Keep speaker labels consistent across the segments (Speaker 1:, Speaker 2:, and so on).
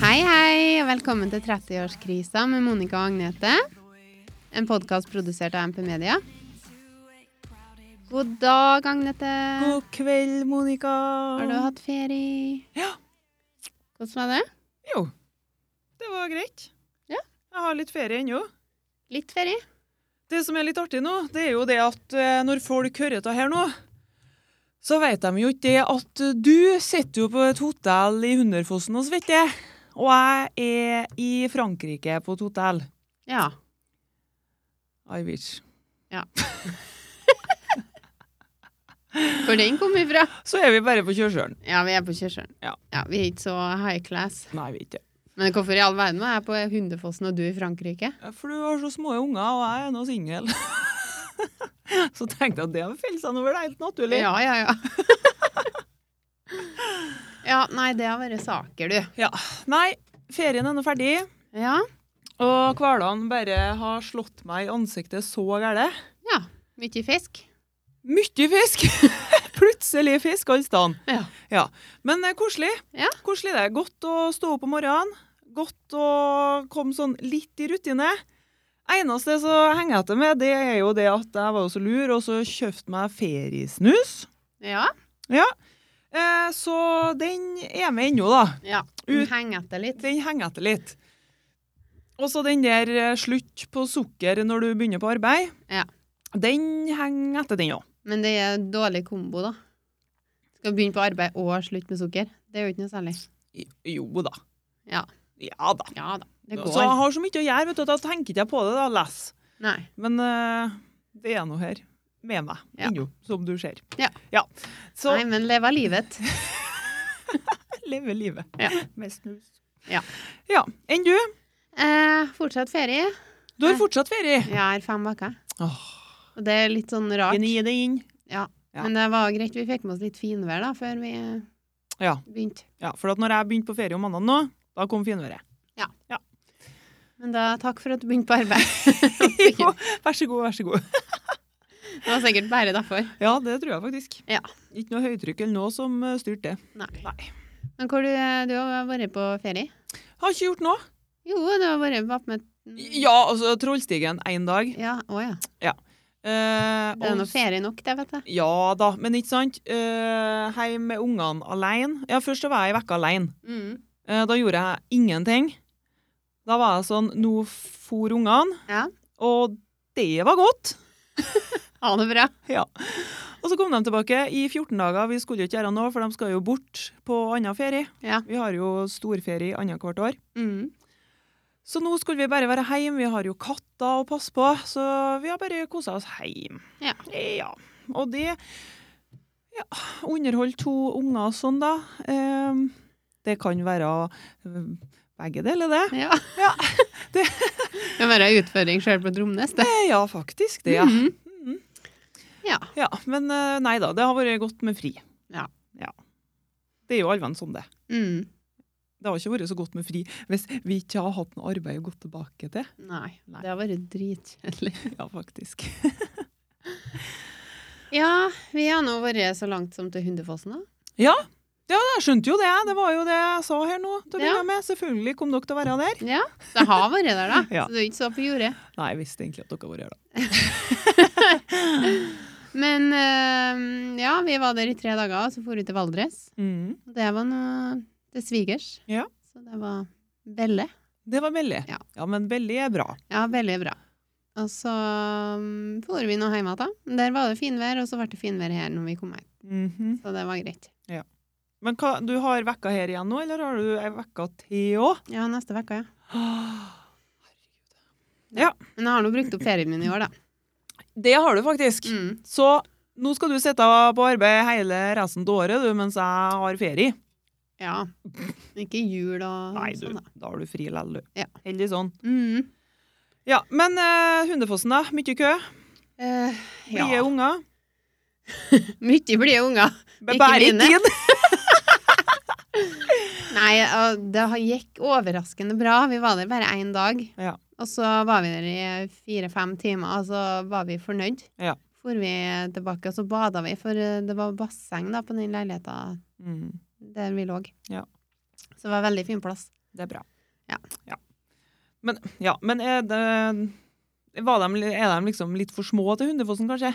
Speaker 1: Hei, hei, og velkommen til 30-årskrisa med Monica og Agnete. En podkast produsert av MP Media. God dag, Agnete.
Speaker 2: God kveld, Monica.
Speaker 1: Har du hatt ferie?
Speaker 2: Ja.
Speaker 1: Hvordan var det?
Speaker 2: Jo, det var greit.
Speaker 1: Ja.
Speaker 2: Jeg har litt ferie ennå.
Speaker 1: Litt ferie.
Speaker 2: Det som er litt artig nå, det er jo det at eh, når folk hører dette her nå, så vet de jo ikke det at du sitter jo på et hotell i Hunderfossen og svetter. Og jeg er i Frankrike på et hotell.
Speaker 1: Ja.
Speaker 2: I wish.
Speaker 1: Hvor den kom ifra?
Speaker 2: Så er vi bare på kjørselen.
Speaker 1: Ja, vi er på kjørselen.
Speaker 2: Ja.
Speaker 1: Vi er ikke så high class.
Speaker 2: Nei, jeg vet ikke.
Speaker 1: Men hvorfor i all verden var jeg på Hundefossen og du i Frankrike?
Speaker 2: Ja, For du har så små unger, og jeg er nå singel. så tenkte jeg at det var fellesene over deg, helt naturlig.
Speaker 1: Ja, ja, ja. ja, nei, det har vært saker, du.
Speaker 2: Nei, ferien er nå ferdig.
Speaker 1: Ja.
Speaker 2: Og hvalene bare har slått meg i ansiktet så gæle.
Speaker 1: ja. Mye fisk.
Speaker 2: Mye fisk! Plutselig fisk alle steder.
Speaker 1: Ja.
Speaker 2: Men det er koselig.
Speaker 1: Ja.
Speaker 2: Koselig det. er Godt å stå opp om morgenen. Godt å komme sånn litt i rutine. Eneste som henger etter med, det er jo det at jeg var jo så lur og så kjøpte meg feriesnus.
Speaker 1: Ja.
Speaker 2: Eh, så den er med ennå, da.
Speaker 1: Ja,
Speaker 2: Ut-
Speaker 1: heng etter litt.
Speaker 2: Den henger etter litt. Og så den der eh, slutt på sukker når du begynner på arbeid,
Speaker 1: Ja.
Speaker 2: den henger etter den òg.
Speaker 1: Men det er en dårlig kombo, da. Skal begynne på arbeid og slutte med sukker. Det er jo ikke noe særlig.
Speaker 2: Jo da.
Speaker 1: Ja.
Speaker 2: Ja da.
Speaker 1: Ja da, det går.
Speaker 2: Så jeg har så mye å gjøre, vet du, at jeg tenker ikke jeg på det, da, less.
Speaker 1: Nei.
Speaker 2: Men eh, det er noe her med meg
Speaker 1: Ja.
Speaker 2: ennå, som du ser.
Speaker 1: Ja.
Speaker 2: Så
Speaker 1: Nei, men leve livet.
Speaker 2: leve livet
Speaker 1: Ja.
Speaker 2: med snus.
Speaker 1: Ja.
Speaker 2: ja. Enn du?
Speaker 1: Eh, fortsatt ferie.
Speaker 2: Du har fortsatt ferie.
Speaker 1: Jeg har fem uker.
Speaker 2: Åh,
Speaker 1: Og det er litt sånn rart.
Speaker 2: Gni det inn. ja.
Speaker 1: Men det var greit. Vi fikk med oss litt finvær da, før vi eh,
Speaker 2: Ja.
Speaker 1: begynte.
Speaker 2: ja, for at når jeg begynte på ferie om mandagen nå, da kom finværet.
Speaker 1: Men da takk for at du begynte på arbeid.
Speaker 2: Jo, vær så god, vær så god.
Speaker 1: Det var sikkert bare derfor.
Speaker 2: Ja, det tror jeg faktisk.
Speaker 1: Ja.
Speaker 2: Ikke noe høytrykk eller noe som eh, styrte det.
Speaker 1: Nei.
Speaker 2: Nei.
Speaker 1: Men hvor du, du har vært på ferie?
Speaker 2: Har ikke gjort noe.
Speaker 1: Jo, du har vært på med
Speaker 2: Ja, altså Trollstigen én dag.
Speaker 1: Ja, å ja.
Speaker 2: Eh,
Speaker 1: Det er
Speaker 2: og
Speaker 1: nå ferie nok, det, vet jeg.
Speaker 2: Ja da, men ikke sant. Uh, Hjem med ungene alene. Ja, først så var jeg ei uke alene.
Speaker 1: Mm.
Speaker 2: Eh, da gjorde jeg ingenting. Da var jeg sånn Nå for ungene.
Speaker 1: Ja.
Speaker 2: Og det var godt.
Speaker 1: Ha det bra.
Speaker 2: Og så kom de tilbake i 14 dager. Vi skulle jo ikke gjøre noe, for de skal jo bort på annen ferie.
Speaker 1: Ja.
Speaker 2: Vi har jo storferie annethvert år.
Speaker 1: Mm.
Speaker 2: Så nå skulle vi bare være hjemme. Vi har jo katter å passe på, så vi har bare kosa oss hjemme.
Speaker 1: Ja.
Speaker 2: ja. Og det ja, Underholde to unger sånn, da. Ehm, det kan være eh, begge deler, det.
Speaker 1: Ja.
Speaker 2: Ja,
Speaker 1: det kan være en utfordring sjøl på Tromnes, det.
Speaker 2: Eh, Ja, faktisk det, ja.
Speaker 1: Mhm.
Speaker 2: Mhm.
Speaker 1: Ja.
Speaker 2: ja. Men eh, nei da, det har vært godt med fri.
Speaker 1: Ja.
Speaker 2: ja. Det er jo allvenn som det.
Speaker 1: Mm.
Speaker 2: Det har ikke vært så godt med fri hvis vi ikke har hatt noe arbeid å gå tilbake til.
Speaker 1: Nei,
Speaker 2: Nei.
Speaker 1: det har vært dritkjedelig.
Speaker 2: Ja, faktisk.
Speaker 1: Ja, vi har nå vært så langt som til Hundefossen, da.
Speaker 2: Jeg skjønte jo det. Det var jo det jeg sa her nå. til å
Speaker 1: Ja.
Speaker 2: begynne med. Selvfølgelig kom dere til å være der.
Speaker 1: Ja, det har vært der, da.
Speaker 2: Ja.
Speaker 1: Så du er ikke så på jordet.
Speaker 2: Nei, jeg visste egentlig at dere var her, da.
Speaker 1: Men eh, ja, vi var der i tre dager, og så dro vi til Valdres.
Speaker 2: Mm.
Speaker 1: Og Det var noe til svigers.
Speaker 2: Ja.
Speaker 1: Så det var Belle.
Speaker 2: Det var Belli.
Speaker 1: Ja.
Speaker 2: men Belli er bra.
Speaker 1: Ja, Belle er bra. Og så mm, dro vi nå hjem igjen. Der var det finvær, og så ble det finvær her når vi kom hjem.
Speaker 2: Mhm.
Speaker 1: Så det var greit.
Speaker 2: Men hva, du har vekka her igjen nå, eller har du ei vekka til òg?
Speaker 1: Ja, neste uke, ja.
Speaker 2: Herregud.
Speaker 1: Men jeg har nå brukt opp ferien min i år, da.
Speaker 2: Det har du faktisk.
Speaker 1: Mm.
Speaker 2: Så nå skal du sitte på arbeid hele resten av året du, mens jeg har ferie.
Speaker 1: Ja. Ikke jul og sånn, da.
Speaker 2: da har du fri likevel, du.
Speaker 1: Ja.
Speaker 2: Heldig sånn.
Speaker 1: Mm.
Speaker 2: Ja, Men eh, Hundefossen, da? Mye kø?
Speaker 1: Eh, ja.
Speaker 2: Blide unger?
Speaker 1: Mye blide unger. Ikke
Speaker 2: Bærer
Speaker 1: mine.
Speaker 2: ikke inn?
Speaker 1: Nei, og det har- gikk overraskende bra. Vi var der bare én dag.
Speaker 2: Ja.
Speaker 1: Og så var vi der i fire-fem timer, og så var vi fornøyd.
Speaker 2: Ja.
Speaker 1: For vi tilbake, og så bada vi, for eh, det var basseng da på den leiligheta
Speaker 2: Mm.
Speaker 1: der vi lå.
Speaker 2: Ja.
Speaker 1: Så det var en veldig fin plass.
Speaker 2: Det er bra.
Speaker 1: Ja.
Speaker 2: Men, ja, men er, det, var de, er de liksom litt for små til Hundefossen, kanskje?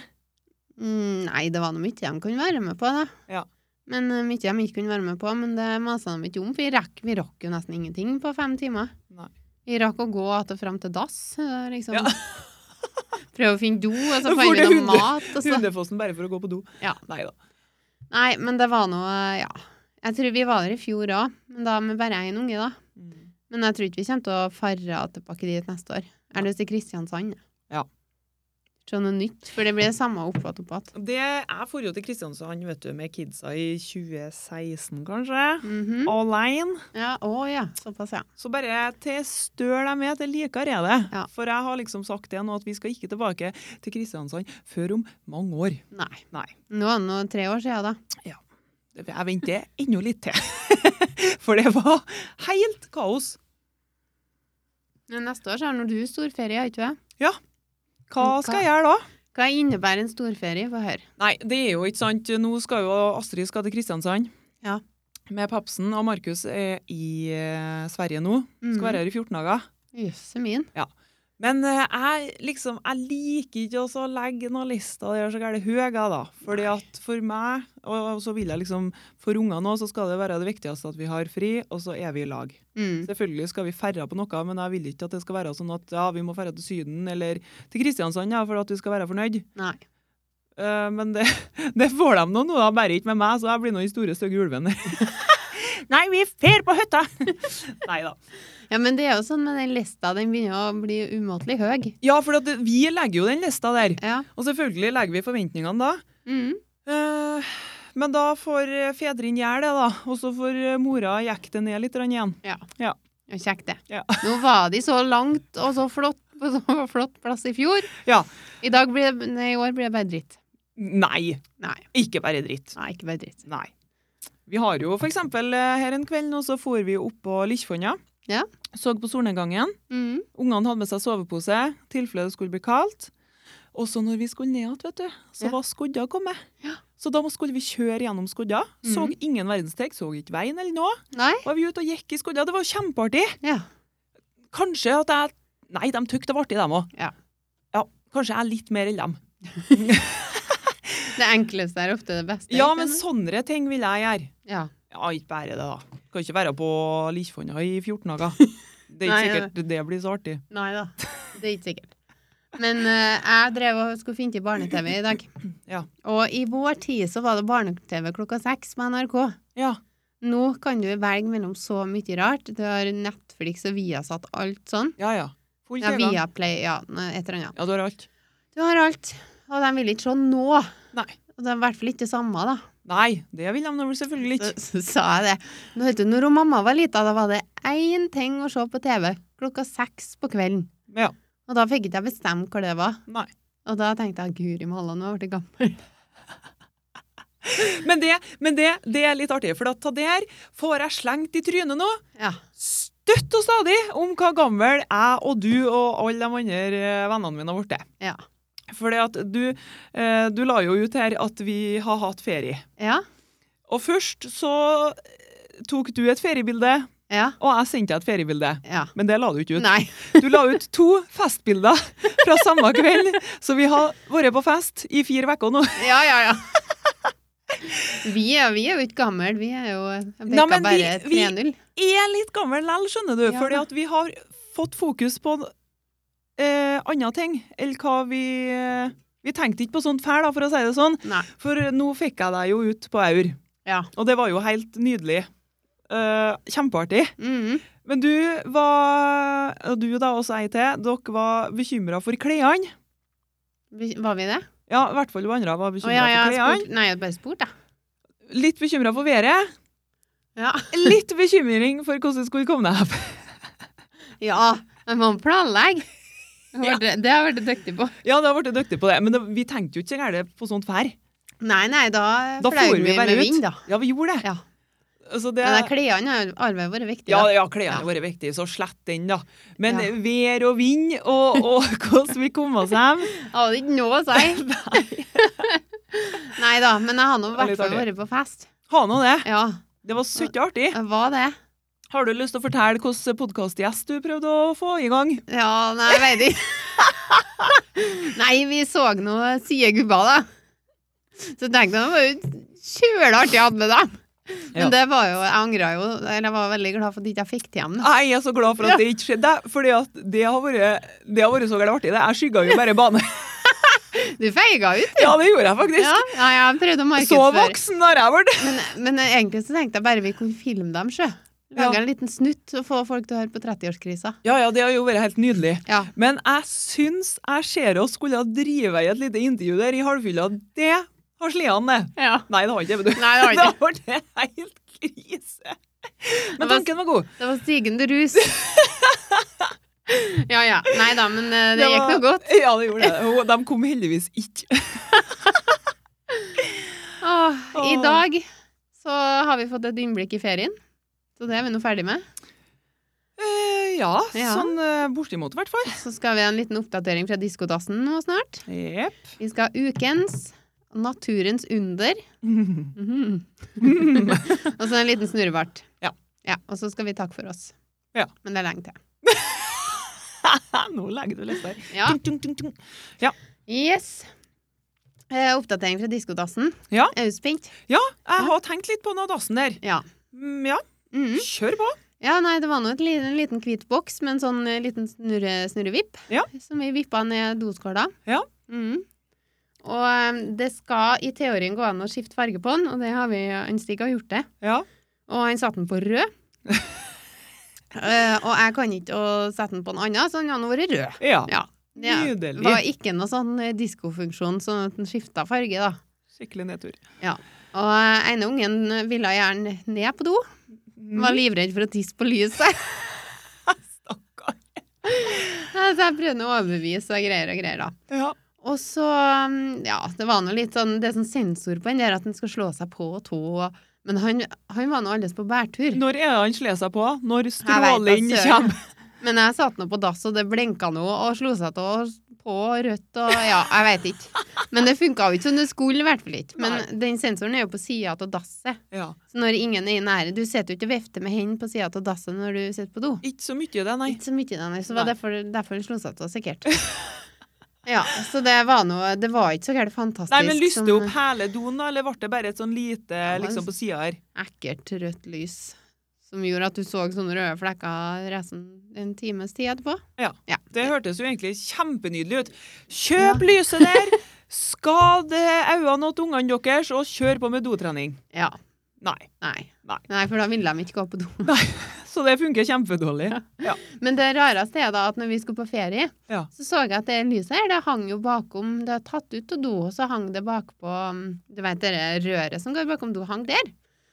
Speaker 1: Mm, nei, det var noe mye de kunne være med på, da.
Speaker 2: Ja.
Speaker 1: Men eh, mye de ikke kunne være med på, men det masa de ikke om, for vi rakk, vi rakk jo nesten ingenting på fem timer.
Speaker 2: Nei.
Speaker 1: Vi rakk å gå att og fram til dass, eh, liksom.
Speaker 2: Ja.
Speaker 1: Prøve å finne do, og så
Speaker 2: Hvor
Speaker 1: fant vi
Speaker 2: det
Speaker 1: noe
Speaker 2: hunde-
Speaker 1: mat. Og så.
Speaker 2: Hundefossen bare for å gå på do?
Speaker 1: Ja.
Speaker 2: Nei da.
Speaker 1: Nei, men det var noe, ja. Jeg tror vi var der i fjor òg, men da med bare én unge, da. Men jeg tror ikke vi kommer til å fare tilbake dit neste år. Jeg har lyst til Kristiansand. jeg.
Speaker 2: Ja.
Speaker 1: Se noe nytt, for det blir det samme opp igjen opp igjen.
Speaker 2: Det, jeg for jo til Kristiansand vet du, med kidsa i 2016, kanskje.
Speaker 1: Mhm.
Speaker 2: Alene.
Speaker 1: Ja, å ja. Såpass, ja.
Speaker 2: Så bare til støl jeg med, til likere er det.
Speaker 1: Ja.
Speaker 2: For jeg har liksom sagt det nå, at vi skal ikke tilbake til Kristiansand før om mange år.
Speaker 1: Nei.
Speaker 2: Nei.
Speaker 1: Nå er det nå tre år siden, da.
Speaker 2: Jeg venter enda litt til. For det var helt kaos.
Speaker 1: Men neste år så har nå du storferie, har ikke du det?
Speaker 2: Hva skal jeg gjøre da?
Speaker 1: Hva innebærer en storferie? Få høre.
Speaker 2: Nei, det er jo ikke sant. Nå skal jo Astrid skal til Kristiansand.
Speaker 1: Ja.
Speaker 2: Med papsen, og Markus er i eh, Sverige nå.
Speaker 1: Mhm.
Speaker 2: Skal være her i 14 dager.
Speaker 1: Jøsse min.
Speaker 2: Men eh, jeg, liksom, jeg liker ikke også å legge noen lister der så gærent høye, da. Fordi at for meg, og og så vil jeg liksom For ungene òg, så skal det være det viktigste at vi har fri, og så er vi i lag.
Speaker 1: Mm.
Speaker 2: Selvfølgelig skal vi ferra på noe, men jeg vil ikke at det skal være sånn at ja, vi må ferra til Syden eller til Kristiansand ja, for at vi skal være fornøyd.
Speaker 1: Nei.
Speaker 2: Eh, men det, det får de nå, nå da, bare ikke med meg, så jeg blir nå den store, stygge ulven. Nei, vi fer på hytta! Nei da.
Speaker 1: Ja, men det er jo sånn med den lista, den begynner å bli umåtelig høy.
Speaker 2: Ja, for at vi legger jo den lista der,
Speaker 1: Ja.
Speaker 2: og selvfølgelig legger vi forventningene da.
Speaker 1: Mm.
Speaker 2: Eh, men da får eh, fedrene gjøre det, da, og så får eh, mora jekke det ned litt grann igjen.
Speaker 1: Ja, Kjekt, det.
Speaker 2: Ja.
Speaker 1: Nå var de så langt og så flott på så flott plass i fjor.
Speaker 2: Ja.
Speaker 1: I, dag blir det, nei, I år blir det bare dritt.
Speaker 2: Nei,
Speaker 1: Nei.
Speaker 2: ikke bare dritt.
Speaker 1: Nei, ikke bare dritt.
Speaker 2: Nei. Vi har jo for eksempel eh, her en kveld nå, så for vi opp på Likkjefonna.
Speaker 1: Ja.
Speaker 2: Så på solnedgangen.
Speaker 1: Mm.
Speaker 2: Ungene hadde med seg sovepose, tilfelle det skulle bli kaldt. Og så når vi skulle ned igjen, vet du, så
Speaker 1: Ja.
Speaker 2: var skodda kommet.
Speaker 1: Ja.
Speaker 2: Så da må- skulle vi kjøre gjennom skodda. Så
Speaker 1: Mhm.
Speaker 2: ingen verdenstek, så ikke veien eller noe.
Speaker 1: Nei.
Speaker 2: Var vi ute og gikk i skodda. Det var jo kjempeartig.
Speaker 1: Ja.
Speaker 2: Kanskje at jeg Nei, de tykte det var artig, dem òg.
Speaker 1: Ja.
Speaker 2: ja. Kanskje jeg er litt mer enn dem.
Speaker 1: Det enkleste er ofte det beste.
Speaker 2: Ja,
Speaker 1: ikke
Speaker 2: men
Speaker 1: sant?
Speaker 2: sånne ting vil jeg gjøre.
Speaker 1: ja.
Speaker 2: Ja, ikke bare det, da. Kan ikke være på Likkjefonna i 14 dager. Det er
Speaker 1: Nei,
Speaker 2: ikke sikkert det blir så artig.
Speaker 1: Nei da. Det er ikke sikkert. Men eh, jeg drev og skulle finne til barne-TV i dag.
Speaker 2: Ja.
Speaker 1: Og i vår tid så var det barne-TV klokka seks med NRK.
Speaker 2: Ja.
Speaker 1: Nå kan du velge mellom så mye rart. Du har Netflix og Viasat, alt sånn.
Speaker 2: Ja, ja. Full
Speaker 1: Ja,
Speaker 2: tilgang. Ja,
Speaker 1: Viaplay, ja, nei, et eller annet.
Speaker 2: du har alt.
Speaker 1: Du har alt. Og de vil ikke se nå.
Speaker 2: Nei.
Speaker 1: Og det er i hvert fall ikke det samme, da.
Speaker 2: Nei, det vil de nå vel selvfølgelig
Speaker 1: Så,
Speaker 2: ikke.
Speaker 1: så sa jeg det. Nå vet du, når hun mamma var lita, da var det én ting å se på TV klokka seks på kvelden.
Speaker 2: Ja.
Speaker 1: Og da fikk ikke jeg bestemme hva det var.
Speaker 2: Nei.
Speaker 1: Og da tenkte jeg guri malla, nå har jeg blitt gammel.
Speaker 2: Men, det, men det, det er litt artig, for at ta det her får jeg slengt i trynet nå.
Speaker 1: Ja.
Speaker 2: Støtt og stadig om hva gammel jeg og du og alle de andre eh, vennene mine har blitt.
Speaker 1: Ja.
Speaker 2: Fordi at du, eh, du la jo ut her at vi har hatt ferie.
Speaker 1: Ja.
Speaker 2: Og først så eh, tok du et feriebilde,
Speaker 1: Ja.
Speaker 2: og jeg sendte deg et feriebilde.
Speaker 1: ja.
Speaker 2: Men det la du ikke ut.
Speaker 1: Nei.
Speaker 2: Du la ut to festbilder fra samme kveld, så vi har vært på fest i fire uker nå.
Speaker 1: Ja, ja, ja. Vi er, vi er jo ikke gamle, vi er jo Jeg
Speaker 2: Nei,
Speaker 1: bikka
Speaker 2: men vi-
Speaker 1: bare
Speaker 2: vi-
Speaker 1: 3-0.
Speaker 2: Er litt gammel likevel, skjønner du,
Speaker 1: Ja.
Speaker 2: fordi at vi har fått fokus på eh, andre ting, eller hva vi eh, Vi tenkte ikke på sånt fæl, da, for å si det sånn,
Speaker 1: Nei.
Speaker 2: for nå fikk jeg deg jo ut på aur,
Speaker 1: Ja.
Speaker 2: og det var jo helt nydelig. Eh, kjempeartig.
Speaker 1: Mhm.
Speaker 2: Men du var, og du da, og jeg til, dere var bekymra for klærne.
Speaker 1: Vi- Var vi det?
Speaker 2: Ja, i hvert fall hun andre var
Speaker 1: Å
Speaker 2: bekymra
Speaker 1: ja, ja.
Speaker 2: for klærne.
Speaker 1: Spurt. Nei, jeg bare spurte, jeg.
Speaker 2: Litt bekymra for været.
Speaker 1: Ja.
Speaker 2: Litt bekymring for hvordan det skulle komme deg opp.
Speaker 1: ja. Men man planlegger. Det har vært- det har jeg vært dyktig på.
Speaker 2: Ja, da ble du dyktig på det, men det, vi tenkte jo ikke så gærent på sånt vær.
Speaker 1: Nei, nei, da,
Speaker 2: Da
Speaker 1: fløy
Speaker 2: for vi bare
Speaker 1: med
Speaker 2: ut.
Speaker 1: vind, da.
Speaker 2: Ja, vi gjorde det.
Speaker 1: Ja.
Speaker 2: Altså, det
Speaker 1: Men de klærne har jo arvet vært viktig.
Speaker 2: ja,
Speaker 1: da.
Speaker 2: ja, klærne
Speaker 1: Ja.
Speaker 2: våre er viktige, så slett den, da. Men
Speaker 1: Ja.
Speaker 2: vær og vind og, og hvordan vi kom oss hjem
Speaker 1: Jeg hadde ikke noe å si. Nei da, men jeg har nå i
Speaker 2: Det var
Speaker 1: hvert
Speaker 2: litt
Speaker 1: fall
Speaker 2: artig.
Speaker 1: vært på fest.
Speaker 2: Ha nå det.
Speaker 1: Ja,
Speaker 2: Det var søtt artig.
Speaker 1: hva det?
Speaker 2: Har du lyst til å fortelle hvilken podkastgjest du prøvde å få i gang?
Speaker 1: Ja, nei, jeg vet ikke. nei, vi så noe side gubba, da. Så tenkte jeg det var jo kjølig artig jeg hadde med dem. Men
Speaker 2: Ja.
Speaker 1: det var jo, jeg angra jo. Eller jeg var veldig glad for at jeg ikke fikk til dem. da.
Speaker 2: Jeg er så glad for at det ikke skjedde, fordi at det har vært, det har vært så gærent artig. det. Jeg skygga jo bare bane.
Speaker 1: Du feiga ut, du.
Speaker 2: Ja, det gjorde jeg faktisk.
Speaker 1: Ja, ja jeg prøvde å
Speaker 2: så
Speaker 1: markedsføre.
Speaker 2: voksen har jeg vært.
Speaker 1: Men, men egentlig så tenkte jeg bare vi kunne filme dem, sjø. Lage
Speaker 2: Ja.
Speaker 1: en liten snutt og få folk til å høre på 30-årskrisa.
Speaker 2: Ja, ja, det har jo vært helt nydelig.
Speaker 1: Ja.
Speaker 2: Men jeg syns jeg ser oss skulle ha drive i et lite intervju der i halvfylla. Det har slitt an, det.
Speaker 1: ja.
Speaker 2: Nei, det har ikke det, vet du.
Speaker 1: Nei, det har ikke.
Speaker 2: har det helt krise. Men
Speaker 1: Det var-
Speaker 2: tanken var god.
Speaker 1: Det var stigende rus. ja ja. Nei da, men eh, det, gikk
Speaker 2: var-
Speaker 1: nå godt.
Speaker 2: Ja, det gjorde det. Og de kom heldigvis ikke.
Speaker 1: Åh, I
Speaker 2: Åh.
Speaker 1: dag så har vi fått et innblikk i ferien. Så det er vi nå ferdig med.
Speaker 2: Eh, ja,
Speaker 1: Ja.
Speaker 2: sånn eh, bortimot i hvert fall.
Speaker 1: Så skal vi ha en liten oppdatering fra diskodassen nå snart.
Speaker 2: Jepp.
Speaker 1: Vi skal ha ukens Naturens under.
Speaker 2: Mm.
Speaker 1: Mhm. og så en liten snurrebart.
Speaker 2: Ja.
Speaker 1: ja. Og så skal vi takke for oss.
Speaker 2: Ja.
Speaker 1: Men det er lenge til.
Speaker 2: Nå legger du litt der.
Speaker 1: Ja.
Speaker 2: Tung, tung, tung, tung.
Speaker 1: Yes. Eh, oppdatering fra diskodassen.
Speaker 2: Ja.
Speaker 1: Er du spent?
Speaker 2: Ja, jeg har tenkt litt på noe dassen der.
Speaker 1: Ja.
Speaker 2: Mm, ja,
Speaker 1: Mhm.
Speaker 2: kjør på.
Speaker 1: Ja, nei, det var nå et li- en liten hvit boks med en sånn eh, liten snurre, snurrevipp.
Speaker 2: Ja.
Speaker 1: Som vi vippa ned doskåla.
Speaker 2: Ja.
Speaker 1: Mhm. Og eh, det skal i teorien gå an å skifte farge på den, og det har vi, eh, han Stig har gjort det.
Speaker 2: Ja.
Speaker 1: Og han satte den på rød. Eh, og jeg kan ikke å sette den på en annen, så den har nå vært rød.
Speaker 2: ja.
Speaker 1: Ja. Det
Speaker 2: Nydelig.
Speaker 1: var ikke noe sånn eh, diskofunksjon, sånn at den skifta farge, da.
Speaker 2: Skikkelig nedtur.
Speaker 1: Og eh, ene ungen ville gjerne ned på do.
Speaker 2: Mm.
Speaker 1: Var livredd for å tisse på lyset.
Speaker 2: Stakkar.
Speaker 1: Ja, Så jeg prøvde å overbevise og greier og greier, da.
Speaker 2: Ja.
Speaker 1: Og så, um, ja, det var nå litt sånn Det er sånn sensor på den der at den skal slå seg på og tå. og- Men han, han var nå alles på bærtur.
Speaker 2: Når er det han slår seg på? Når
Speaker 1: da,
Speaker 2: strålen
Speaker 1: søren.
Speaker 2: kommer?
Speaker 1: Men jeg satt nå på dass, og det blinka nå og slo seg til og på og rødt og Ja, jeg vet ikke. Men det funka jo ikke som det skulle, i hvert fall ikke. Men den sensoren er jo på sida av dasset.
Speaker 2: Ja.
Speaker 1: Så når ingen er i nære Du sitter jo ikke og vifter med hendene på sida av dasset når du sitter på do.
Speaker 2: Ikke så mye, det, nei.
Speaker 1: Ikke så mye, nei, nei. Så det var
Speaker 2: Nei.
Speaker 1: derfor, derfor den slo seg til, sikkert. Ja, så det var noe Det var ikke så gærent fantastisk.
Speaker 2: Nei, men lyste
Speaker 1: som-
Speaker 2: opp hele doen, da, eller ble det bare et sånn
Speaker 1: sånn-
Speaker 2: lite
Speaker 1: det var-
Speaker 2: liksom på sida her?
Speaker 1: Ekkelt rødt lys som gjorde at du så sånne røde flekker resten en times tid etterpå.
Speaker 2: Det hørtes jo egentlig kjempenydelig ut. Kjøp lyset der! Skad eh, øynene til ungene deres, og kjør på med dotrening.
Speaker 1: Ja.
Speaker 2: Nei.
Speaker 1: Nei.
Speaker 2: Nei.
Speaker 1: for da ville de ikke gå på do.
Speaker 2: Så det funker kjempedårlig. Ja.
Speaker 1: Men det rareste er da at når vi skulle på ferie,
Speaker 2: Ja.
Speaker 1: så så jeg at det lyset her, det hang jo bakom Det er tatt ut av do, og så hang det bakpå mm, Du vet det røret som går bakom do, hang der.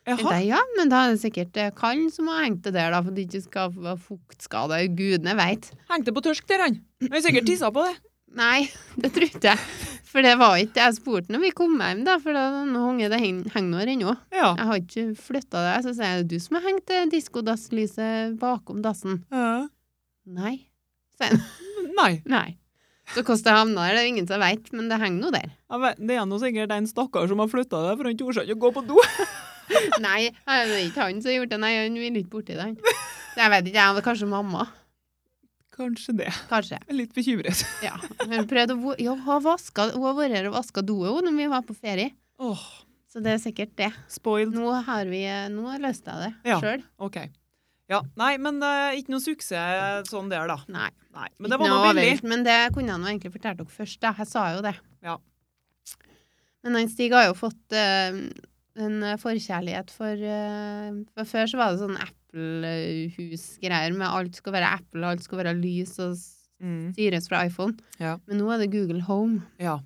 Speaker 2: Jaha.
Speaker 1: Tenkte jeg, ja, men da er det sikkert eh, kallen som har hengt det der, da, for det ikke skal være fuktskader. Gudene veit.
Speaker 2: Hengte på tørsk der, han. Han har sikkert tissa på det.
Speaker 1: Nei, det trodde jeg. For det var ikke det jeg spurte når vi kom hjem, da, for da nå hang det heng- henger noe her ennå.
Speaker 2: Ja.
Speaker 1: Jeg har ikke flytta det. Så sier jeg, du som har hengt det diskodasslyset bakom dassen.
Speaker 2: Eh,
Speaker 1: Nei. Sier han.
Speaker 2: Nei.
Speaker 1: Nei. Så hvordan det havna der, det er jo ingen som veit, men det henger nå der.
Speaker 2: Jeg vet, det er nå sikkert en stakkar som har flytta det, for han torde ikke å gå på do.
Speaker 1: Nei, det er ikke han som har gjort det. Nei, han vil ikke borti det, han. Så Jeg vet ikke, jeg hadde kanskje mamma.
Speaker 2: Kanskje det.
Speaker 1: Kanskje.
Speaker 2: Jeg er litt bekymret.
Speaker 1: Ja. Hun prøvde å vo- ja, hun har vasket- hun har vært her og vaska doet hun, når vi var på ferie.
Speaker 2: Åh,
Speaker 1: Så det er sikkert det.
Speaker 2: spoiled.
Speaker 1: Nå har vi eh, Nå løste jeg det
Speaker 2: Ja.
Speaker 1: sjøl.
Speaker 2: OK. Ja, Nei, men eh, ikke noe suksess sånn der, da.
Speaker 1: Nei.
Speaker 2: Nei, Men det var
Speaker 1: ikke
Speaker 2: nå
Speaker 1: noe
Speaker 2: billig.
Speaker 1: overalt, Men det kunne han jo egentlig fortalt dere først. Da. Jeg sa jo det.
Speaker 2: Ja.
Speaker 1: Men han Stig har jo fått eh, en forkjærlighet for eh, For før så var det sånn Apple-husgreier med alt skal være Apple, alt skal være lys og
Speaker 2: Mm.
Speaker 1: styres fra iPhone.
Speaker 2: Ja.
Speaker 1: Men nå er det Google Home,
Speaker 2: Ja.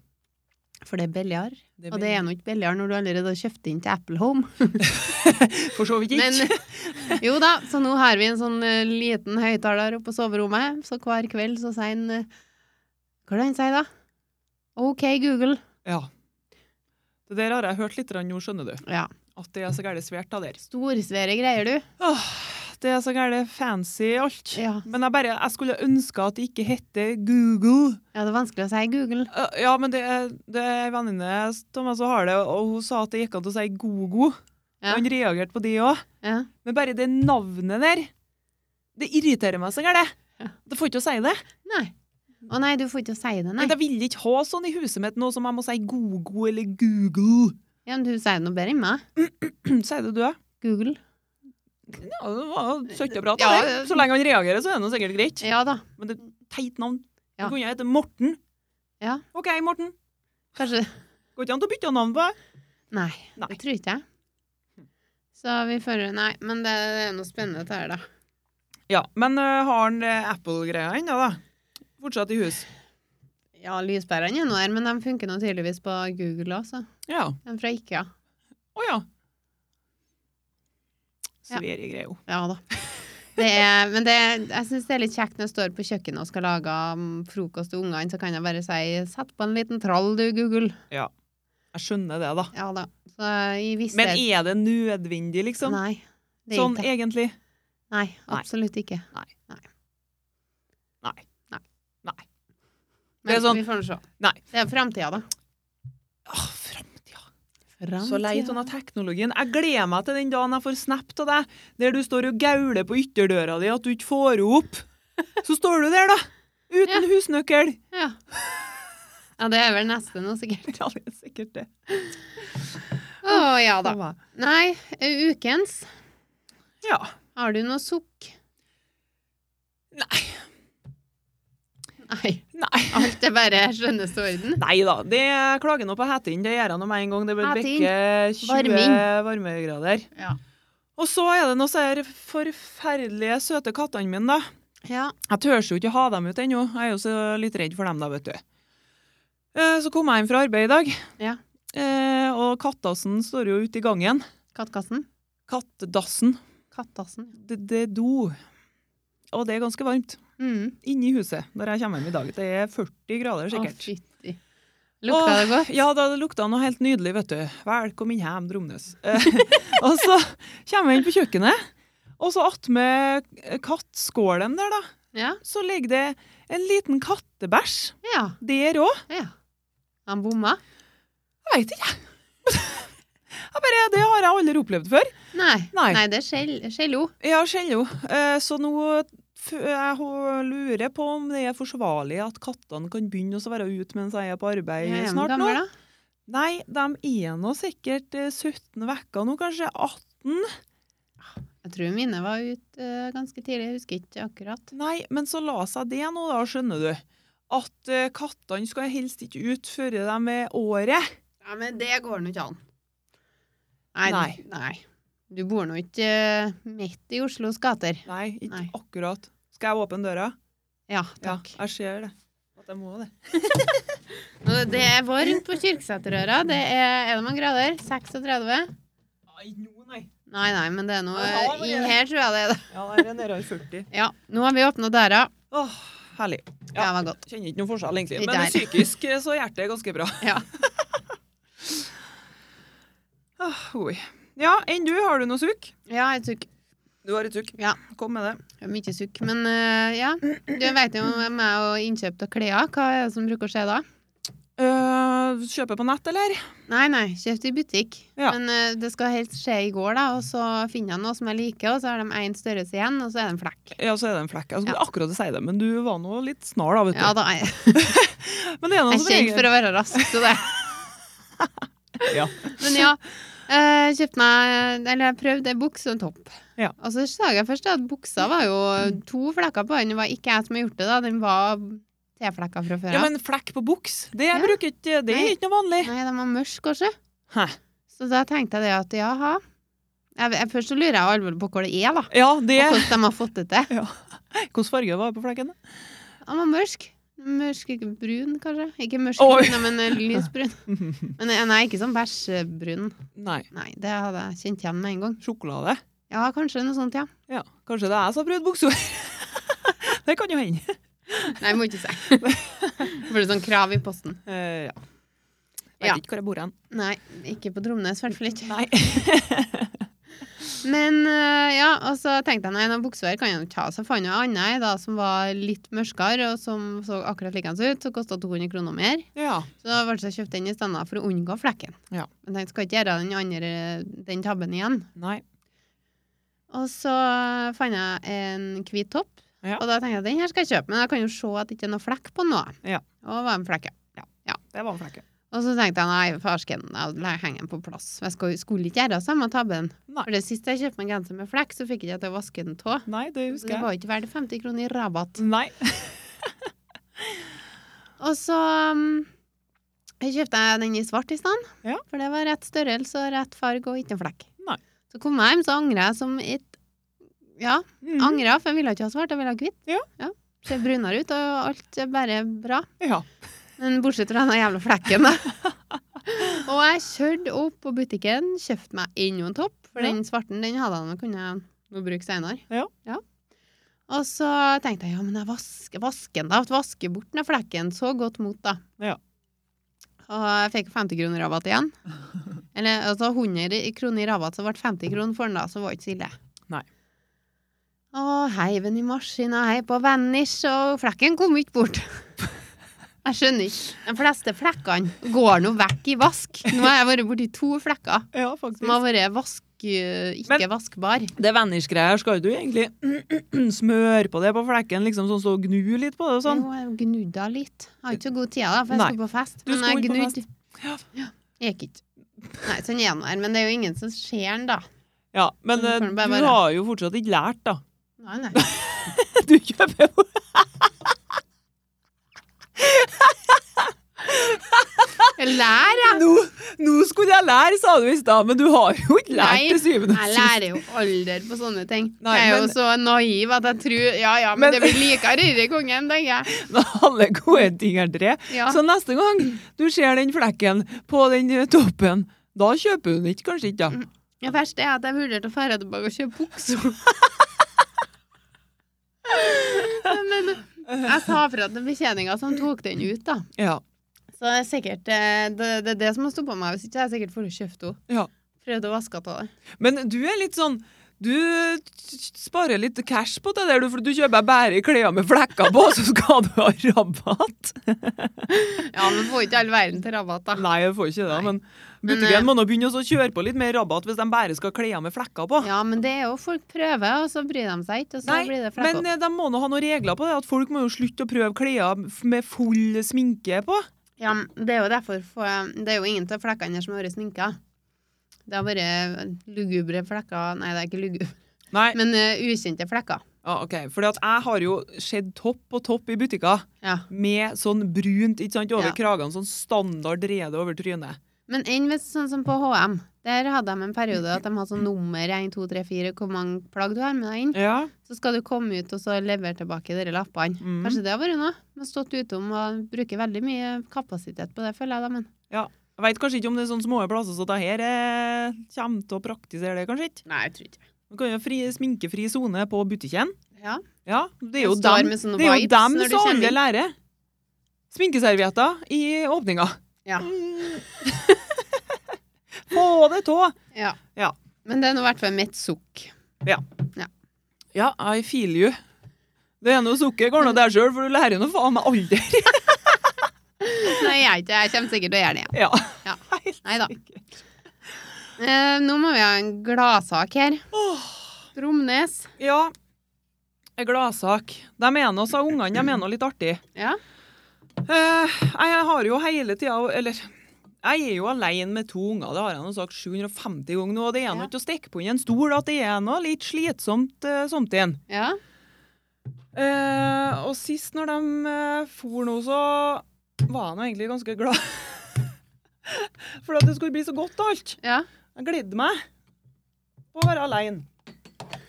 Speaker 1: for det er billigere.
Speaker 2: Det
Speaker 1: Og det er nå ikke billigere når du allerede har kjøpt inn til Apple Home.
Speaker 2: For så vidt ikke.
Speaker 1: Men, jo da, så nå har vi en sånn eh, liten høyttaler oppe på soverommet, så hver kveld så sier han eh, Hva er det han sier da? OK, Google.
Speaker 2: Ja. Det der har jeg hørt litt grann nå, skjønner du.
Speaker 1: Ja.
Speaker 2: At det er så gærent svært av der.
Speaker 1: Storsvære greier, du.
Speaker 2: Åh, det er så gærent fancy alt.
Speaker 1: Ja.
Speaker 2: Men jeg bare, jeg skulle ønske at det ikke hette Google.
Speaker 1: ja, det er vanskelig å si Google.
Speaker 2: Øh, ja, men det er det er en venninne Thomas, som har det, og hun sa at det gikk an til å si Gogo. Og
Speaker 1: Ja.
Speaker 2: han reagerte på det òg.
Speaker 1: Ja.
Speaker 2: Men bare det navnet der, det irriterer meg så gærent.
Speaker 1: Ja.
Speaker 2: Det får ikke å si det.
Speaker 1: Nei. Å nei, du får ikke si det, nei.
Speaker 2: Men jeg vil ikke ha sånn i huset mitt nå som jeg må si Gogo eller Google.
Speaker 1: Ja, men du sier det noe bedre enn meg.
Speaker 2: Sier det du, ja?
Speaker 1: Google.
Speaker 2: Ja, det var søkt og bra.
Speaker 1: Ja,
Speaker 2: det.
Speaker 1: det-
Speaker 2: Så lenge han reagerer, så er det nå sikkert greit.
Speaker 1: Ja da.
Speaker 2: Men det er teit navn.
Speaker 1: Ja.
Speaker 2: Du kunne hete Morten.
Speaker 1: Ja.
Speaker 2: OK, Morten.
Speaker 1: Kanskje
Speaker 2: Går ikke an å bytte navn på deg.
Speaker 1: Nei,
Speaker 2: Nei.
Speaker 1: det tror ikke jeg. Så vi fører Nei, men det er noe spennende dette her, da.
Speaker 2: Ja, men øh, har han øh, Apple-greia ennå, da? Fortsatt i hus.
Speaker 1: Ja, lyspærene er nå her, men de funker nå tydeligvis på Google også.
Speaker 2: Ja.
Speaker 1: De er fra IKEA.
Speaker 2: Å ja.
Speaker 1: Ja.
Speaker 2: Sverigegreia.
Speaker 1: Ja da. Det er, men det, jeg syns det er litt kjekt når jeg står på kjøkkenet og skal lage mm, frokost til ungene, så kan jeg bare si 'sett på en liten trall, du, Google'.
Speaker 2: Jeg skjønner det, da.
Speaker 1: Ja da. Så i visse
Speaker 2: Men er det nødvendig, liksom?
Speaker 1: Nei. Det er
Speaker 2: Sånn
Speaker 1: ikke.
Speaker 2: egentlig?
Speaker 1: Nei, absolutt ikke.
Speaker 2: Nei.
Speaker 1: Nei.
Speaker 2: Nei.
Speaker 1: Nei.
Speaker 2: Nei.
Speaker 1: Men
Speaker 2: Det er sånn-
Speaker 1: vi får nå se.
Speaker 2: Nei.
Speaker 1: Det er framtida, da.
Speaker 2: Åh, framtida. Så lei av denne teknologien. Jeg gleder meg til den dagen jeg får snap av deg der du står og gauler på ytterdøra di at du ikke får henne opp. Så står du der, da. Uten husnøkkel.
Speaker 1: Ja. ja, det er vel neste nå, sikkert.
Speaker 2: Ja, det er sikkert det.
Speaker 1: Å ja da. Nei, ukens.
Speaker 2: Ja.
Speaker 1: Har du noe sukk?
Speaker 2: Nei.
Speaker 1: Nei.
Speaker 2: Nei.
Speaker 1: Alt er bare skjønneste orden.
Speaker 2: Nei da, det klager nå på hetting. Det gjør jeg nå med en gang. Det bør
Speaker 1: Hetting.
Speaker 2: bikke 20
Speaker 1: Varming.
Speaker 2: varmegrader.
Speaker 1: Ja.
Speaker 2: Og så er det nå så her forferdelige søte kattene mine, da.
Speaker 1: Ja.
Speaker 2: Jeg tør jo ikke ha dem ut ennå. Jeg er jo så litt redd for dem, da, vet du. Eh, Så kom jeg hjem fra arbeid i dag,
Speaker 1: Ja.
Speaker 2: Eh, og kattassen står jo ute i gangen.
Speaker 1: Kattkassen?
Speaker 2: Kattdassen.
Speaker 1: Kattassen.
Speaker 2: Det, det er do. Og det er ganske varmt.
Speaker 1: Mm.
Speaker 2: Inne i huset når jeg kommer hjem i dag. Det er 40 grader sikkert.
Speaker 1: Å, fytti. Lukta det
Speaker 2: Åh,
Speaker 1: godt?
Speaker 2: Ja, da, det lukta noe helt nydelig, vet du. Velkommen hjem, Dromnes. Eh, og så kommer jeg inn på kjøkkenet, og så attmed kattskålen der, da,
Speaker 1: Ja.
Speaker 2: så ligger det en liten kattebæsj
Speaker 1: Ja.
Speaker 2: der òg.
Speaker 1: ja. Han bomma?
Speaker 2: Jeg veit ikke, jeg. Jeg bare, det har jeg aldri opplevd før.
Speaker 1: Nei.
Speaker 2: Nei.
Speaker 1: det er skjell- skjello.
Speaker 2: Ja, skjello. Eh, så nå f- jeg ho- lurer på om det er forsvarlig at kattene kan begynne å være ute mens jeg er på arbeid
Speaker 1: Jeg er
Speaker 2: snart nå.
Speaker 1: gammel, da.
Speaker 2: Nei, de er nå sikkert eh, 17 uker nå, kanskje 18.
Speaker 1: Jeg tror mine var ute eh, ganske tidlig, jeg husker ikke akkurat.
Speaker 2: Nei, men så la seg det nå, da, skjønner du. At eh, kattene skal helst ikke ut før de er året.
Speaker 1: Ja, men det går nå ikke an. Nei.
Speaker 2: Nei.
Speaker 1: nei. Du bor nå ikke eh, midt i Oslos gater.
Speaker 2: Nei, ikke
Speaker 1: Nei.
Speaker 2: akkurat. Skal jeg åpne døra?
Speaker 1: Ja,
Speaker 2: Ja,
Speaker 1: takk.
Speaker 2: jeg ser det. At jeg må det.
Speaker 1: Nå, Det er varmt på Kyrksæterøra. Det er, er det mange grader? 36?
Speaker 2: Nei, nå, nei.
Speaker 1: Nei, nei, men det er noe
Speaker 2: Ja, det var det.
Speaker 1: Inn her tror jeg det er det.
Speaker 2: Ja, nei, den der er 40.
Speaker 1: Ja, nå har vi åpna døra.
Speaker 2: Åh, herlig.
Speaker 1: Ja,
Speaker 2: Ja.
Speaker 1: det var godt.
Speaker 2: Kjenner ikke noen forskjell, egentlig.
Speaker 1: Ikke
Speaker 2: Men
Speaker 1: jeg.
Speaker 2: psykisk eh, så er hjertet ganske bra.
Speaker 1: Ja.
Speaker 2: Åh, Ah, oi. Ja, enn du, har du noe sukk?
Speaker 1: Ja, jeg sukk.
Speaker 2: Du har et sukk.
Speaker 1: Ja.
Speaker 2: Kom med det.
Speaker 1: Det er Mye sukk. Men eh, ja, du vet jo om meg og innkjøp av klær. Hva er det som bruker å skje da?
Speaker 2: Uh, kjøpe på nett, eller?
Speaker 1: Nei, nei, kjøpt i butikk.
Speaker 2: Ja.
Speaker 1: Men eh, det skal helst skje i går, da. Og så finner jeg noe som jeg liker, og så har de én størrelse igjen, og så er det en flekk.
Speaker 2: Ja, så er det en flekk. Jeg skulle akkurat si det, men du var nå litt snar, da, vet du.
Speaker 1: Ja da, jeg
Speaker 2: Men det er noe
Speaker 1: jeg er
Speaker 2: som
Speaker 1: kjent
Speaker 2: regel-
Speaker 1: for å være rask, så det
Speaker 2: Ja.
Speaker 1: Men ja, eh, kjøpte meg Eller jeg prøvde en bukse og en topp.
Speaker 2: Ja.
Speaker 1: Og så sa jeg først at buksa var jo to flekker på den. Det var ikke jeg som hadde gjort det, da. Den var T-flekka fra før
Speaker 2: ja,
Speaker 1: av.
Speaker 2: men flekk på buks, det
Speaker 1: Ja.
Speaker 2: bruker ikke Det er
Speaker 1: Nei.
Speaker 2: ikke noe vanlig.
Speaker 1: Nei, den var mørk, kanskje.
Speaker 2: Hæ?
Speaker 1: Så da tenkte jeg det at jaha. Jeg, jeg, først så lurer jeg alvorlig på hva det er, da.
Speaker 2: Ja, det
Speaker 1: Og hvordan de har fått det til.
Speaker 2: Hvilken farge var det på flekken? da?
Speaker 1: Den var mørk. Mørk, ikke brun, kanskje. Ikke mørk,
Speaker 2: Oi.
Speaker 1: brun, men eh, lysbrun. Men eh, nei, ikke sånn bæsjebrun.
Speaker 2: Nei.
Speaker 1: Nei, det hadde jeg kjent igjen med en gang.
Speaker 2: Sjokolade?
Speaker 1: Ja, kanskje noe sånt, ja.
Speaker 2: Ja. Kanskje det er jeg som har prøvd bukser? det kan jo hende.
Speaker 1: Nei, jeg må ikke si. Får du sånn krav i posten?
Speaker 2: Eh, ja. Vet
Speaker 1: Ja.
Speaker 2: ikke hvor jeg bor hen.
Speaker 1: Nei, ikke på Dromnes, i hvert fall ikke.
Speaker 2: Nei.
Speaker 1: Men eh, ja, og så tenkte jeg nei, noen buksevar kan jeg nå ikke ha. Så jeg fant noe annet jeg, da, som var litt mørkere, og som så akkurat likende ut, som kosta 200 kroner mer.
Speaker 2: Ja.
Speaker 1: Så da ble det så kjøpt den i stedet for å unngå flekken.
Speaker 2: Ja.
Speaker 1: Men jeg skal ikke gjøre den andre den tabben igjen.
Speaker 2: Nei.
Speaker 1: Og så fant jeg en hvit topp,
Speaker 2: Ja.
Speaker 1: og da tenkte jeg den her skal jeg kjøpe, men jeg kan jo se at det ikke er noe flekk på den nå.
Speaker 2: Ja.
Speaker 1: Og det var en flekk, ja.
Speaker 2: Det var en flekke.
Speaker 1: Og så tenkte jeg nei, farsken, jeg henger den på plass. Jeg skal- skulle ikke gjøre samme tabben.
Speaker 2: Nei.
Speaker 1: For det siste jeg kjøpte meg en genser med flekk, så fikk jeg ikke til å vaske den tå.
Speaker 2: Nei, det
Speaker 1: Så
Speaker 2: husker
Speaker 1: det
Speaker 2: jeg.
Speaker 1: var ikke verdt 50 kroner i rabatt.
Speaker 2: Nei.
Speaker 1: Og så um, jeg kjøpte jeg den i svart i stedet.
Speaker 2: Ja.
Speaker 1: For det var rett størrelse og rett farge og ikke noe flekk.
Speaker 2: Nei.
Speaker 1: Så kom jeg hjem, så angret jeg som et Ja,
Speaker 2: Mm.
Speaker 1: angret, for jeg ville ikke ha svart, jeg ville ha hvitt.
Speaker 2: Ja.
Speaker 1: Ser brunere ut, og alt er bare bra.
Speaker 2: Ja.
Speaker 1: Men bortsett fra den jævla flekken, da. og jeg kjørte opp på butikken, kjøpte meg enda en topp, for
Speaker 2: Ja.
Speaker 1: den svarten den hadde jeg nå kunne jeg nå bruke senere.
Speaker 2: Ja.
Speaker 1: Og så tenkte jeg ja, men jeg vasker, vasker den da, vasker bort den flekken. Så godt mot, da.
Speaker 2: Ja.
Speaker 1: Og jeg fikk 50 kroner rabatt igjen. Eller altså 100 kroner i rabatt, så ble 50 kroner for den, da, så var ikke så ille.
Speaker 2: Nei.
Speaker 1: Og heiv den i maskina, heiv på Vanish, og flekken kom ikke bort. Jeg skjønner ikke. De fleste flekkene går nå vekk i vask. Nå har jeg vært borti to flekker
Speaker 2: ja,
Speaker 1: som har
Speaker 2: faktisk.
Speaker 1: vært vask, eh, ikke
Speaker 2: Men-
Speaker 1: vaskbar.
Speaker 2: Det vanish-greier skal jo du egentlig smøre på det på flekken, liksom sånn så gnu litt på det og sånn.
Speaker 1: Jo, jeg gnudda litt. Jeg har ikke så god tid, da, for jeg
Speaker 2: Nei.
Speaker 1: skulle på fest.
Speaker 2: Du
Speaker 1: Men
Speaker 2: skulle
Speaker 1: jeg
Speaker 2: på
Speaker 1: gnudd.
Speaker 2: Ja.
Speaker 1: Gikk ikke. Nei, sånn er den her. Men det er jo ingen som ser den, da.
Speaker 2: Ja, men
Speaker 1: Sånn
Speaker 2: eh,
Speaker 1: får det bare
Speaker 2: du
Speaker 1: være.
Speaker 2: har jo fortsatt ikke lært, da.
Speaker 1: Nei, nei.
Speaker 2: Du kjøper jo
Speaker 1: Jeg lærer, jeg.
Speaker 2: nå, nå skulle jeg lære, sa du i stad, men du har jo ikke lært
Speaker 1: Nei,
Speaker 2: til syvende
Speaker 1: Jeg
Speaker 2: og sist.
Speaker 1: lærer jo aldri på sånne ting.
Speaker 2: Nei,
Speaker 1: jeg er jo
Speaker 2: men-
Speaker 1: så naiv at jeg tror Ja ja, men,
Speaker 2: Men-
Speaker 1: det blir likere Røyre kongen, tenker jeg.
Speaker 2: Alle gode ting er tre.
Speaker 1: Ja.
Speaker 2: Så neste gang du ser den flekken på den eh, toppen, da kjøper hun ikke, kanskje ikke, da.
Speaker 1: Det verste er at jeg vurderte å dra tilbake og kjøpe bukser. Men jeg sa fra til betjeninga som tok den ut, da.
Speaker 2: Ja.
Speaker 1: Så det er sikkert eh, det, det er det som har stoppa meg. Hvis ikke jeg er sikkert for å kjøpe henne.
Speaker 2: Ja.
Speaker 1: Prøvde å vaske av det.
Speaker 2: Men du er litt sånn Du sparer litt cash på det der, du, for du kjøper bare klær med flekker på, så skal du ha rabatt.
Speaker 1: Ja, men får ikke all verden til rabatt, da.
Speaker 2: Nei, jeg får ikke det,
Speaker 1: Nei.
Speaker 2: men
Speaker 1: Men, eh,
Speaker 2: butikken må nå begynne å kjøre på litt mer rabatt hvis de bare skal ha klær med flekker på.
Speaker 1: Ja, men det er jo folk prøver, og så bryr de seg ikke, og så
Speaker 2: Nei,
Speaker 1: blir det
Speaker 2: Men
Speaker 1: flekk opp.
Speaker 2: eh, de må nå ha noen regler på det, at folk må jo slutte å prøve klær f- med full sminke på.
Speaker 1: Ja, men det er jo derfor få- Det er jo ingen av flekkene her som har vært sminka. Det har vært lugubre flekker Nei, det er ikke lugubre,
Speaker 2: Nei,
Speaker 1: men eh, ukjente flekker.
Speaker 2: ah, ok, for jeg har jo sett topp på topp i butikker
Speaker 1: Ja.
Speaker 2: med sånn brunt ikke sant, over
Speaker 1: Ja.
Speaker 2: kragene, sånn standard rede over trynet.
Speaker 1: Men enn hvis sånn som på HM. Der hadde de en periode at de hadde sånn nummer 1, 2, 3, 4, hvor mange plagg du har med deg inn.
Speaker 2: Ja,
Speaker 1: Så skal du komme ut og så levere tilbake de lappene.
Speaker 2: Mhm.
Speaker 1: Kanskje det har vært noe? De har stått utom og bruker veldig mye kapasitet på det, føler jeg da, men
Speaker 2: Jeg veit kanskje ikke om det er sånne små plasser, så det her eh, kommer til å praktisere det, kanskje ikke.
Speaker 1: Nei, jeg tror ikke
Speaker 2: Man kan jo ha fri, sminkefri sone på butikken.
Speaker 1: Ja.
Speaker 2: Ja, det er jo
Speaker 1: Det står
Speaker 2: dem,
Speaker 1: med sånne
Speaker 2: det er jo
Speaker 1: vibes
Speaker 2: dem
Speaker 1: når du
Speaker 2: som
Speaker 1: kommer
Speaker 2: alle
Speaker 1: inn.
Speaker 2: lærer. Sminkeservietter i åpninga. Mm.
Speaker 1: Ja.
Speaker 2: Få det tå!
Speaker 1: ja.
Speaker 2: Ja.
Speaker 1: Men det er nå i hvert fall mitt sukk.
Speaker 2: Ja, I feel you. Det ene sukket går nå der sjøl, for du lærer jo nå faen meg aldri.
Speaker 1: Nei, jeg, er ikke- jeg kommer sikkert til å gjøre det igjen.
Speaker 2: Ja.
Speaker 1: Ja.
Speaker 2: Helt
Speaker 1: Nei da.
Speaker 2: sikkert.
Speaker 1: Eh, nå må vi ha en gladsak her. Brumnes.
Speaker 2: Ja. En Gladsak. De er nå, sa ungene, de er nå litt artige.
Speaker 1: Ja.
Speaker 2: Eh, jeg har jo hele tida Eller jeg er jo alene med to unger, det har jeg nå sagt 750 ganger nå. Og det er nå
Speaker 1: Ja.
Speaker 2: ikke å stikke på under en stol at det er noe litt slitsomt uh, samtidig.
Speaker 1: Ja.
Speaker 2: Eh, og sist når de eh, for nå, så var jeg nå egentlig ganske glad. For at det skulle bli så godt alt.
Speaker 1: ja.
Speaker 2: Jeg gledde meg på å være alene.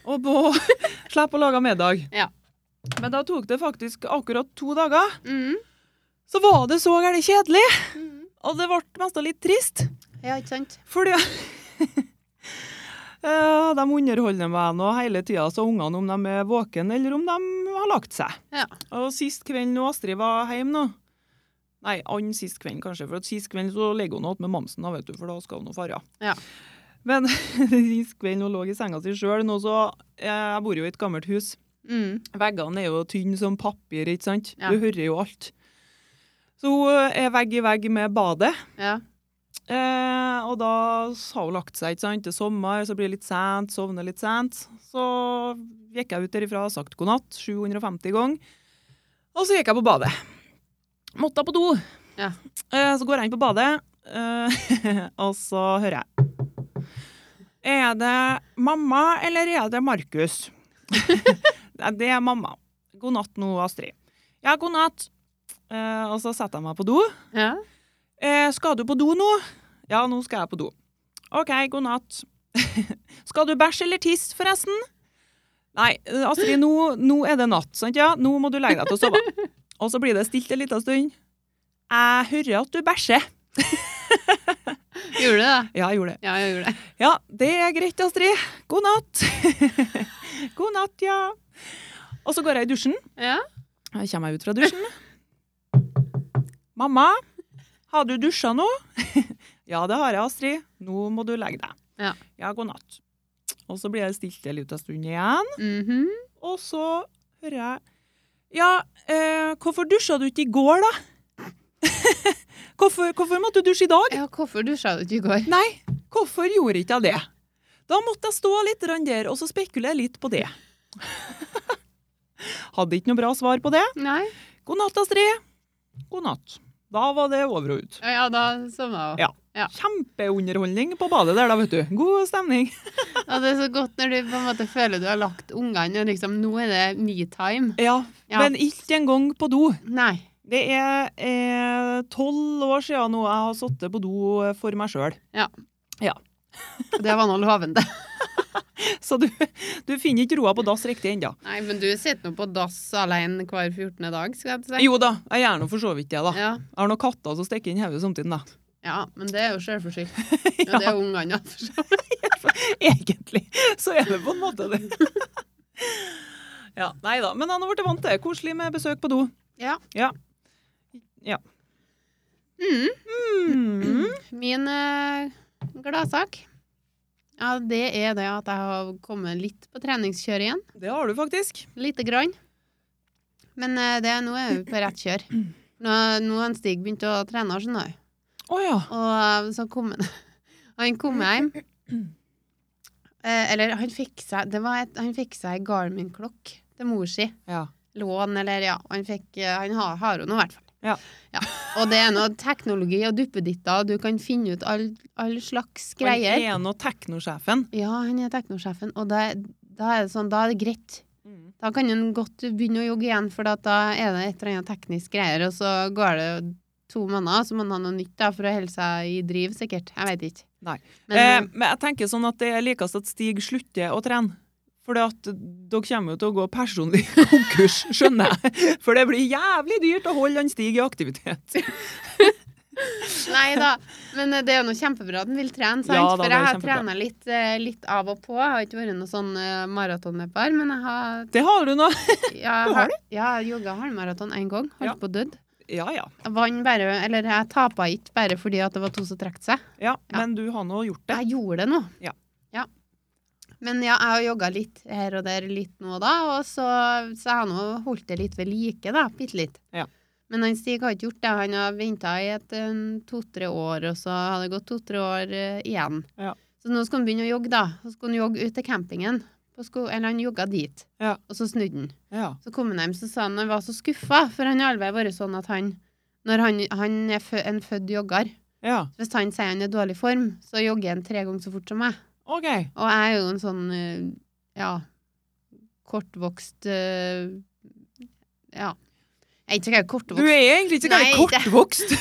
Speaker 2: Og på å slippe å lage middag.
Speaker 1: Ja.
Speaker 2: Men da tok det faktisk akkurat to dager.
Speaker 1: Mhm.
Speaker 2: Så var det så gærent kjedelig.
Speaker 1: Mhm.
Speaker 2: Og det ble mest litt trist,
Speaker 1: Ja, ikke sant?
Speaker 2: fordi Eh, De underholder meg nå hele tida, så ungene om de er våken eller om de har lagt seg.
Speaker 1: Ja.
Speaker 2: Og sist kveld når Astrid var hjemme nå Nei, annen sist kveld kanskje, for at sist kveld så ligger hun igjen med mamsen, da, vet du, for da skal hun og fare.
Speaker 1: Ja.
Speaker 2: Men sist kveld hun lå i senga si sjøl, nå så eh, Jeg bor jo i et gammelt hus.
Speaker 1: Mm.
Speaker 2: Veggene er jo tynne som papir, ikke sant?
Speaker 1: Ja.
Speaker 2: Du hører jo alt. Så hun eh, er vegg i vegg med badet.
Speaker 1: Ja.
Speaker 2: Eh, og da har hun lagt seg, ikke sant. Det er sommer, så blir det litt sent, sovner litt sent. Så gikk jeg ut derifra og sagt god natt 750 ganger. Og så gikk jeg på badet. Måtte jeg på do.
Speaker 1: Ja.
Speaker 2: Eh, så går jeg inn på badet, eh, og så hører jeg. Er det mamma, eller er det Markus? Nei, det er mamma. God natt nå, Astrid. Ja, god natt. Eh, og så setter jeg meg på do.
Speaker 1: ja.
Speaker 2: Eh, skal du på do nå? Ja, nå skal jeg på do. OK, god natt. skal du bæsje eller tisse, forresten? Nei, eh, Astrid, nå, nå er det natt, sant? Ja, nå må du legge deg til å sove. Og så blir det stilt en liten stund. Jeg hører at du bæsjer.
Speaker 1: Gjorde du det?
Speaker 2: Ja, jeg gjorde det.
Speaker 1: Ja, jeg gjorde det.
Speaker 2: Ja, det er greit, Astrid. God natt. god natt, ja. Og så går jeg i dusjen.
Speaker 1: Ja.
Speaker 2: Jeg kommer meg ut fra dusjen. Mamma, har du dusja nå? ja, det har jeg, Astrid. Nå må du legge deg.
Speaker 1: Ja.
Speaker 2: god natt. Og så blir jeg stilt en liten stund igjen,
Speaker 1: Mhm.
Speaker 2: og så hører jeg Ja, eh, hvorfor dusja du ikke i går, da? hvorfor, hvorfor måtte du dusje i dag?
Speaker 1: ja, hvorfor dusja du ikke i går?
Speaker 2: Nei, hvorfor gjorde ikke jeg det? Da måtte jeg stå litt grann der og så spekulere litt på det. Hadde ikke noe bra svar på det.
Speaker 1: Nei.
Speaker 2: God natt, Astrid. God natt. Da var det over og ut.
Speaker 1: Ja, ja da sovna hun.
Speaker 2: Ja. Kjempeunderholdning på badet der, da, vet du. God stemning.
Speaker 1: Og det er så godt når du på en måte føler du har lagt ungene, og liksom nå er det me time.
Speaker 2: Ja,
Speaker 1: Ja.
Speaker 2: men ikke engang på do.
Speaker 1: Nei.
Speaker 2: Det er eh, tolv år siden nå jeg har sittet på do for meg sjøl.
Speaker 1: Det var noe lovende.
Speaker 2: Så du, du finner ikke roa på dass riktig ennå.
Speaker 1: Nei, men du sitter nå på dass alene hver 14. dag, skal jeg til å si.
Speaker 2: Jo da, jeg gjør nå for så vidt det, da.
Speaker 1: Ja.
Speaker 2: Jeg har noen katter som stikker inn hodet samtidig, da.
Speaker 1: ja, men det er jo sjølforskyldt. Og det er jo ungene. for så vidt.
Speaker 2: Egentlig så er det på en måte det. Ja, Nei da, men han har blitt vant til det. Koselig med besøk på do.
Speaker 1: Ja.
Speaker 2: Ja. Ja.
Speaker 1: Mm.
Speaker 2: Mm.
Speaker 1: Min eh, gladsak, ja, det er det at jeg har kommet litt på treningskjør igjen.
Speaker 2: Det har du faktisk.
Speaker 1: Lite grann. Men eh, det, nå er vi på rett kjør. Nå, nå har Stig begynt å trene, skjønner du.
Speaker 2: Å ja.
Speaker 1: Og eh, så kom han Han kom hjem. Eh, eller han fikk seg Det var et, Han fikk seg ei Garmin-klokk til mor si.
Speaker 2: ja.
Speaker 1: Lån, eller ja. Han, fikk, eh, han har, har jo noe, i hvert fall.
Speaker 2: Ja.
Speaker 1: Ja. Og det er noe teknologi og duppeditter, og du kan finne ut all, all slags greier.
Speaker 2: Han er nå teknosjefen.
Speaker 1: Ja, han er teknosjefen, og da, da er det sånn, da er det greit. Da kan han godt begynne å jogge igjen, for at da er det et eller annet teknisk greier, og så går det to måneder, så må han ha noe nytt da, for å holde seg i driv, sikkert. Jeg vet ikke.
Speaker 2: Nei.
Speaker 1: Men,
Speaker 2: eh, men jeg tenker sånn at det er likest at Stig slutter å trene. For at dere kommer jo til å gå personlig konkurs, skjønner jeg. For det blir jævlig dyrt å holde han Stig i aktivitet.
Speaker 1: Nei da, men eh, det er jo noe kjempebra at han vil trene, sant?
Speaker 2: Ja da, det
Speaker 1: for
Speaker 2: er
Speaker 1: jeg har
Speaker 2: kjempebra.
Speaker 1: trenet litt, eh, litt av og på. Jeg har ikke vært noen sånn eh, maratonløper, men jeg har,
Speaker 2: Det har du nå.
Speaker 1: jeg har,
Speaker 2: Du har
Speaker 1: ja, jeg har jogget halvmaraton en gang, holdt
Speaker 2: Ja.
Speaker 1: på å dødd.
Speaker 2: Ja, ja.
Speaker 1: Jeg vann bare, eller jeg tapet ikke bare fordi at det var to som trekte seg.
Speaker 2: ja.
Speaker 1: Ja.
Speaker 2: Men du har nå gjort det.
Speaker 1: Jeg gjorde det nå.
Speaker 2: Ja.
Speaker 1: Ja. Men ja, jeg har jogga litt her og der, litt nå og da, og så, så jeg har nå holdt det litt ved like, da. Bitte litt.
Speaker 2: Ja.
Speaker 1: Men han Stig har ikke gjort det. Han har venta i et en, to-tre år, og så har det gått to-tre år eh, igjen.
Speaker 2: Ja.
Speaker 1: Så nå skal han begynne å jogge, da. Så skal han jogge ut til campingen. På sko eller han jogga dit,
Speaker 2: Ja.
Speaker 1: og så snudde han.
Speaker 2: Ja.
Speaker 1: Så kom han hjem så sa han han var så skuffa, for han har aldri vært sånn at han Når han, han er fø, en født jogger
Speaker 2: ja.
Speaker 1: Hvis han sier han er i dårlig form, så jogger han tre ganger så fort som meg.
Speaker 2: OK.
Speaker 1: Og jeg er jo en sånn eh, ja, kortvokst eh, Ja. Jeg er ikke så gøy
Speaker 2: Du
Speaker 1: kortvokst.
Speaker 2: er egentlig ikke
Speaker 1: Nei,
Speaker 2: ganske
Speaker 1: det-
Speaker 2: kortvokst.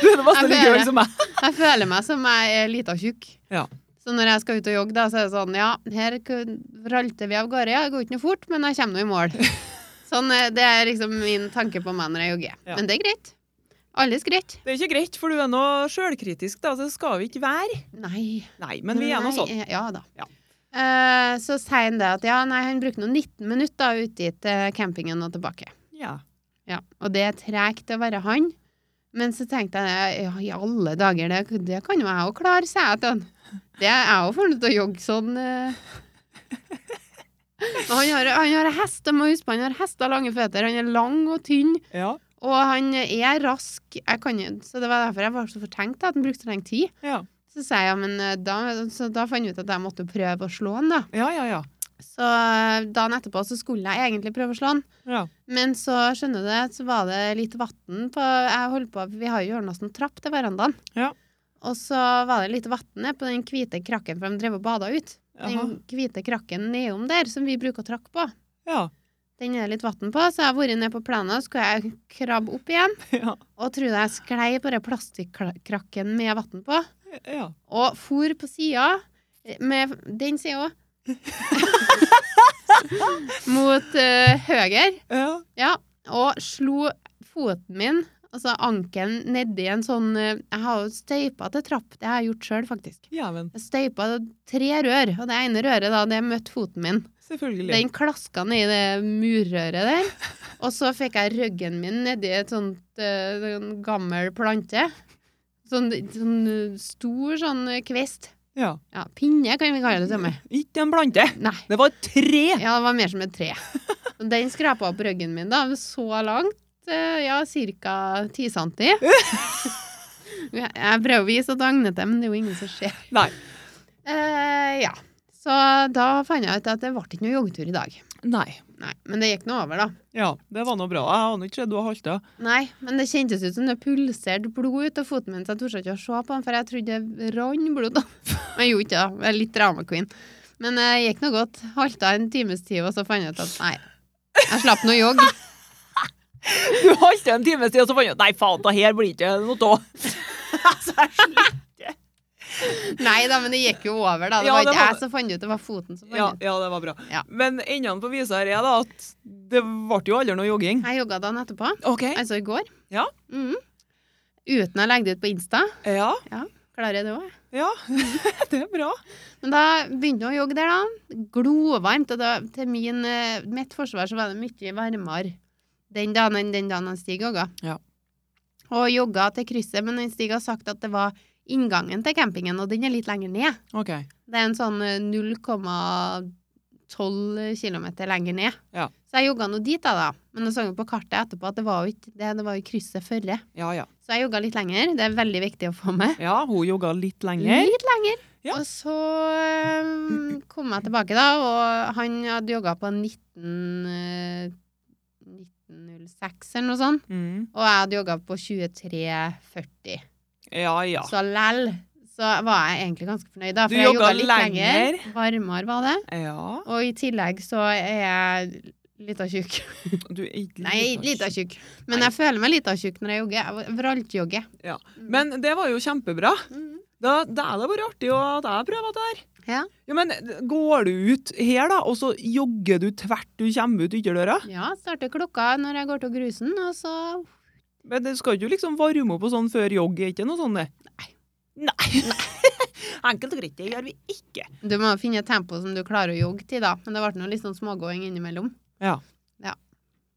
Speaker 2: Du er det
Speaker 1: Jeg
Speaker 2: masse like
Speaker 1: føler-
Speaker 2: høy som meg.
Speaker 1: Jeg føler meg som jeg er lita og tjukk.
Speaker 2: Ja.
Speaker 1: Så når jeg skal ut og jogge, da, så er det sånn Ja, her kun- ralte vi av gårde. Ja, det går ikke noe fort, men jeg kommer nå i mål. Sånn, eh, Det er liksom min tanke på meg når jeg jogger.
Speaker 2: Ja.
Speaker 1: Men det er greit. Alles greit.
Speaker 2: Det er ikke greit, for du er nå sjølkritisk, da. Så det skal vi ikke være.
Speaker 1: Nei.
Speaker 2: Nei, men vi er nå
Speaker 1: Nei,
Speaker 2: sånn.
Speaker 1: eh, Ja da.
Speaker 2: Ja.
Speaker 1: Eh, så sier han det at ja, nei, han bruker nå 19 minutter da, ut dit til campingen og tilbake.
Speaker 2: Ja.
Speaker 1: Ja, og det er tregt å være eh, han. Men så tenkte jeg ja, i alle dager, det, det kan jo jeg òg klare, sa jeg til han. Det er jeg òg fornøyd til å jogge sånn. eh. Men han har, han har hest, jeg må huske på, han har hester lange føtter. Han er lang og tynn,
Speaker 2: Ja.
Speaker 1: og han er rask. Jeg kan, jo- så det var derfor jeg var så fortenkt da, at han brukte så lenge tid.
Speaker 2: Ja.
Speaker 1: Så sa jeg, ja, men eh, da, så da fant jeg ut at jeg måtte prøve å slå han da.
Speaker 2: Ja, ja, ja.
Speaker 1: Så eh, dagen etterpå så skulle jeg egentlig prøve å slå han.
Speaker 2: ja.
Speaker 1: Men så skjønner du det, så var det litt vann på Jeg holdt på, vi har jo ordna sånn trapp til verandaen.
Speaker 2: Ja.
Speaker 1: Og så var det litt vann ned på den hvite krakken, for de drev og bada ut.
Speaker 2: Jaha.
Speaker 1: Den hvite krakken nedom der, som vi bruker å trakke på,
Speaker 2: Ja.
Speaker 1: den er det litt vann på. Så jeg har vært ned på plenen, og skulle jeg krabbe opp igjen.
Speaker 2: Ja.
Speaker 1: Og trodde jeg sklei på den plastikkrakken med vann på.
Speaker 2: ja.
Speaker 1: Og for på sida med den sida òg. Mot eh, høyre.
Speaker 2: ja.
Speaker 1: Ja, og slo foten min, altså ankelen, nedi en sånn eh, Jeg har jo støypa til trapp, det har jeg gjort sjøl, faktisk.
Speaker 2: Jæven.
Speaker 1: Jeg støypa tre rør, og det ene røret, da, det møtte foten min.
Speaker 2: Selvfølgelig.
Speaker 1: Den klaska ned i det murrøret der. Og så fikk jeg ryggen min nedi et sånt eh, sånn gammel plante. Sånn, sånn eh, stor sånn eh, kvist.
Speaker 2: Ja.
Speaker 1: Ja, pinne kan vi kalle det til meg.
Speaker 2: Ikke en blante.
Speaker 1: Nei.
Speaker 2: Det var tre!
Speaker 1: Ja, det var mer som et tre. Og Den skrapa opp ryggen min da, så langt. eh, Ja, ca. 10 cm. Jeg jeg prøver å vise at det er agnete, men det er jo ingen som ser.
Speaker 2: Nei.
Speaker 1: Eh, ja. Så da fant jeg ut at det ble ikke noe joggetur i dag.
Speaker 2: Nei.
Speaker 1: Nei, Men det gikk nå over, da.
Speaker 2: Ja, det var nå bra. Jeg aner ikke hva du har halta.
Speaker 1: Nei, men det kjentes ut som det pulserte blod ut av foten min, så jeg torde ikke å se på den, for jeg trodde det rant blod. da. Men jeg gjorde ikke det. Jeg er litt drama queen. Men det gikk nå godt. Halta en times tid, og så fant jeg ut at nei, jeg slapp nå å jogge.
Speaker 2: Du halta en times tid, og så fant du ut Nei, faen, det her blir ikke noe av. Så jeg slutt-
Speaker 1: Nei da, men det gikk jo over, da. Det
Speaker 2: Ja,
Speaker 1: var
Speaker 2: det
Speaker 1: ikke
Speaker 2: var
Speaker 1: jeg som fant det ut, det var foten som fant
Speaker 2: ja,
Speaker 1: ut.
Speaker 2: ja, det var bra.
Speaker 1: Ja.
Speaker 2: Men enden på visa her er da at det ble jo aldri noe jogging.
Speaker 1: Jeg jogga dagen etterpå,
Speaker 2: OK.
Speaker 1: altså i går.
Speaker 2: Ja.
Speaker 1: Mhm. Uten å legge det ut på Insta.
Speaker 2: Ja.
Speaker 1: Klarer jeg det òg?
Speaker 2: Ja. Det er bra.
Speaker 1: Men da begynte jeg å jogge der, da. Glovarmt. Og da, til min, eh, mitt forsvar så var det mye varmere den dagen enn den dagen han Stig jogga.
Speaker 2: Ja.
Speaker 1: Og jogga til krysset, men han Stig har sagt at det var inngangen til campingen, og den er litt lenger ned.
Speaker 2: OK.
Speaker 1: Det er en sånn eh, 0,12 km lenger ned.
Speaker 2: Ja.
Speaker 1: Så jeg jogga nå dit, da, da. Men jeg så jo på kartet etterpå at det var jo ikke det, det var jo krysset førre.
Speaker 2: Ja, ja.
Speaker 1: Så jeg jogga litt lenger. Det er veldig viktig å få med.
Speaker 2: Ja, hun jogga litt lenger.
Speaker 1: Litt lenger.
Speaker 2: Ja.
Speaker 1: Og så eh, kom jeg tilbake, da, og han hadde jogga på 19... eh, 1906 eller noe sånt.
Speaker 2: Mm.
Speaker 1: Og jeg hadde jogga på 23,40.
Speaker 2: Ja, ja.
Speaker 1: Så lell så var jeg egentlig ganske fornøyd, da.
Speaker 2: Du
Speaker 1: For jeg
Speaker 2: jogga
Speaker 1: jogga litt lenger.
Speaker 2: lenger.
Speaker 1: Varmere var det.
Speaker 2: Ja.
Speaker 1: Og i tillegg så er jeg lita tjukk.
Speaker 2: Du er ikke
Speaker 1: Nei, lita tjukk. Men
Speaker 2: Nei.
Speaker 1: jeg føler meg lita tjukk når jeg jogger. Mm. Jeg vraltjogger.
Speaker 2: Ja. Men det var jo kjempebra.
Speaker 1: Mhm.
Speaker 2: Da, da er det bare artig å da jeg prøver det her.
Speaker 1: Ja.
Speaker 2: Jo, men går du ut her, da, og så jogger du tvert du kommer ut ytterdøra?
Speaker 1: Ja, starter klokka når jeg går til grusen, og så
Speaker 2: Men det skal ikke liksom varme opp og sånn før jogg, er ikke noe sånt det? Nei. Nei. Enkelt og greit, det gjør vi ikke.
Speaker 1: Du må finne et tempo som du klarer å jogge til, da. Men det ble nå litt sånn smågåing innimellom.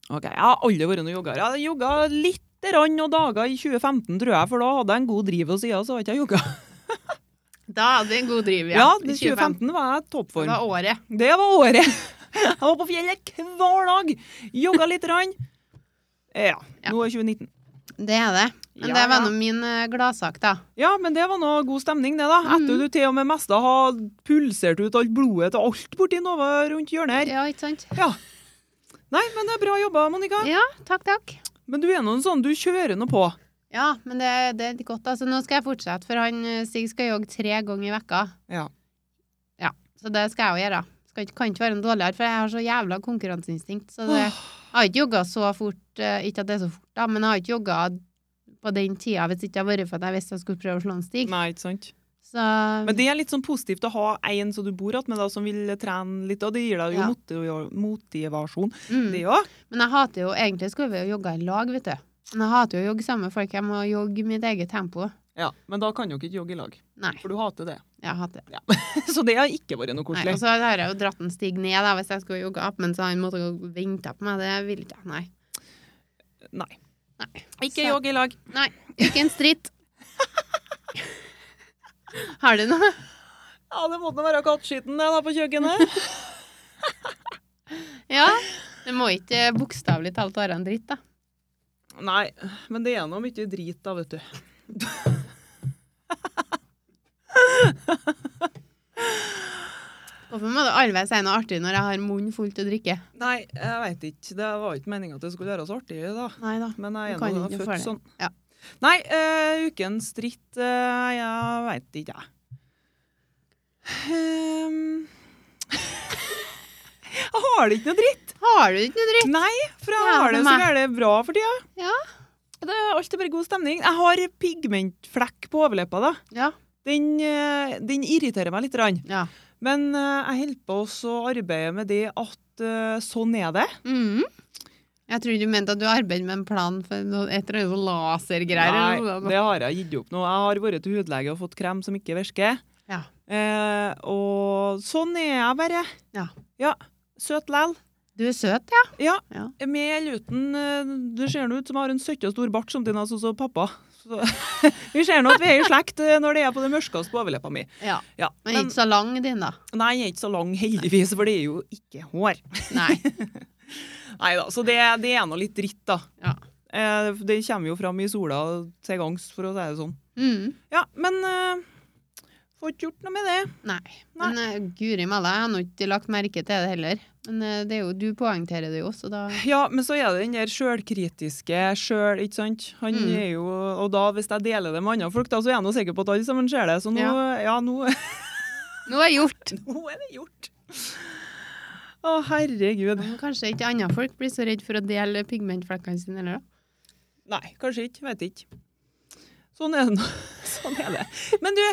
Speaker 2: Ok, Jeg har aldri vært noen jogger. Jeg har jogga lite grann noen dager i 2015, tror jeg, for da hadde jeg en god driv, og siden så har jeg ikke jogga.
Speaker 1: Da hadde vi en god driv,
Speaker 2: Ja, i 2015 var jeg i
Speaker 1: Det
Speaker 2: toppform.
Speaker 1: var året.
Speaker 2: Det var året. Jeg var på fjellet hver dag. Jogga litt. Rann. Ja.
Speaker 1: Ja.
Speaker 2: Nå er 2019.
Speaker 1: Det er det. Men
Speaker 2: Ja,
Speaker 1: det var
Speaker 2: ja.
Speaker 1: nå min eh, gladsak, da.
Speaker 2: Ja, men det var noe god stemning, det, da. Etter
Speaker 1: Mhm.
Speaker 2: du til og med mesta har pulsert ut alt blodet til alt borti Nova rundt hjørnet her.
Speaker 1: Ja, ikke sant?
Speaker 2: Nei, men det er bra jobba, Monica.
Speaker 1: Ja, takk, takk.
Speaker 2: Men du er nå en sånn, du kjører nå på.
Speaker 1: Ja, men det, det er godt, altså. Nå skal jeg fortsette, for han eh, Stig skal jogge tre ganger i vekka.
Speaker 2: Ja.
Speaker 1: Ja, så det skal jeg jo gjøre. Skal ikke, kan ikke være noe dårligere, for jeg har så jævla konkurranseinstinkt. Så det, jeg har ikke jogga så fort, eh, ikke at det er så fort, da, men jeg har ikke jogga på den tida hvis ikke det hadde vært for at jeg visste jeg skulle prøve å slå en stig.
Speaker 2: Nei, ikke sant.
Speaker 1: Så
Speaker 2: Men det er litt sånn positivt å ha en som du bor att med, da, som vil trene litt. Og det gir deg jo
Speaker 1: Ja.
Speaker 2: motiv- motivasjon, det
Speaker 1: mm.
Speaker 2: òg.
Speaker 1: Men jeg hater jo Egentlig skulle vi jo jogga i lag, vet du. Men jeg hater jo å jogge sammen med folk. Jeg må jogge i mitt eget tempo.
Speaker 2: Ja, men da kan du ikke jogge i lag,
Speaker 1: Nei,
Speaker 2: for du hater det.
Speaker 1: jeg hater det.
Speaker 2: Så det har ikke vært noe
Speaker 1: Nei, altså,
Speaker 2: koselig.
Speaker 1: og så har jeg jo dratt en stig ned da, hvis jeg skulle jogge opp, men så har han måttet gå og vente på meg. Det vil ikke jeg. Nei.
Speaker 2: Nei.
Speaker 1: Nei.
Speaker 2: Ikke
Speaker 1: Så-
Speaker 2: jogg i lag.
Speaker 1: Nei, ikke en stritt. Har du noe?
Speaker 2: Ja, det måtte nå være kattskitten det da på kjøkkenet.
Speaker 1: Ja. Det må ikke bokstavelig talt være en dritt, da.
Speaker 2: Nei, men det er nå mye drit da, vet du.
Speaker 1: Hvorfor må det alltid være noe artig når jeg har munnen fullt å drikke?
Speaker 2: Nei, jeg veit ikke. Det var ikke meninga at det skulle være så artig da.
Speaker 1: Nei da.
Speaker 2: Men jeg
Speaker 1: Du
Speaker 2: er
Speaker 1: kan
Speaker 2: nå
Speaker 1: ikke
Speaker 2: født
Speaker 1: føle det.
Speaker 2: sånn.
Speaker 1: Ja.
Speaker 2: Nei, eh, ukens dritt eh, Jeg veit ikke, jeg. Ehm. jeg har det ikke noe dritt.
Speaker 1: Har du ikke noe dritt?
Speaker 2: Nei, for jeg
Speaker 1: Ja,
Speaker 2: har det
Speaker 1: for
Speaker 2: så
Speaker 1: meg.
Speaker 2: gærent bra for tida.
Speaker 1: Ja.
Speaker 2: Det er alltid bare god stemning. Jeg har pigmentflekk på overleppa, da.
Speaker 1: Ja.
Speaker 2: Den, eh, den irriterer meg litt. Rann.
Speaker 1: Ja.
Speaker 2: Men eh, jeg holder på også å arbeide med det at eh, sånn er det.
Speaker 1: Mhm. Jeg tror du mente at du arbeider med en plan for noe, et eller annet sånn lasergreier. eller noe sånt.
Speaker 2: det har jeg gitt opp nå. Jeg har vært til hudlege og fått krem som ikke virker.
Speaker 1: Ja.
Speaker 2: Eh, og sånn er jeg bare.
Speaker 1: Ja.
Speaker 2: Søt lell.
Speaker 1: Du er søt, ja.
Speaker 2: Ja.
Speaker 1: Ja.
Speaker 2: Med eller uten eh, Det ser nå ut som jeg har en søtt og stor bart samtidig altså, som pappa. Så, vi ser nå at vi er i slekt eh, når det er på det mørkeste på overleppa mi.
Speaker 1: ja.
Speaker 2: Ja.
Speaker 1: Men ikke så lang din, da.
Speaker 2: nei, jeg er ikke så lang, heldigvis, for det er jo ikke hår.
Speaker 1: Nei.
Speaker 2: Nei da, så det, det er nå litt dritt, da.
Speaker 1: Ja.
Speaker 2: Eh, det kommer jo fram i sola til gangs, for å si det sånn.
Speaker 1: Mhm.
Speaker 2: Ja, men eh, får ikke gjort noe med det.
Speaker 1: Nei. Men eh, guri malla, jeg har nå ikke lagt merke til det heller. Men eh, det er jo, du poengterer det jo, så da
Speaker 2: Ja, men så er det den der sjølkritiske sjøl, ikke sant. Han
Speaker 1: Mm.
Speaker 2: er jo Og da, hvis jeg deler det med andre folk, da, så er jeg nå sikker på at alle sammen ser det. Så nå, ja, nå,
Speaker 1: Nå er det gjort!
Speaker 2: nå er det gjort. Å, herregud.
Speaker 1: Men Kanskje ikke andre folk blir så redd for å dele pigmentflekkene sine heller, da.
Speaker 2: Nei, kanskje ikke. Vet ikke. Sånn er det nå. Sånn er det. Men du,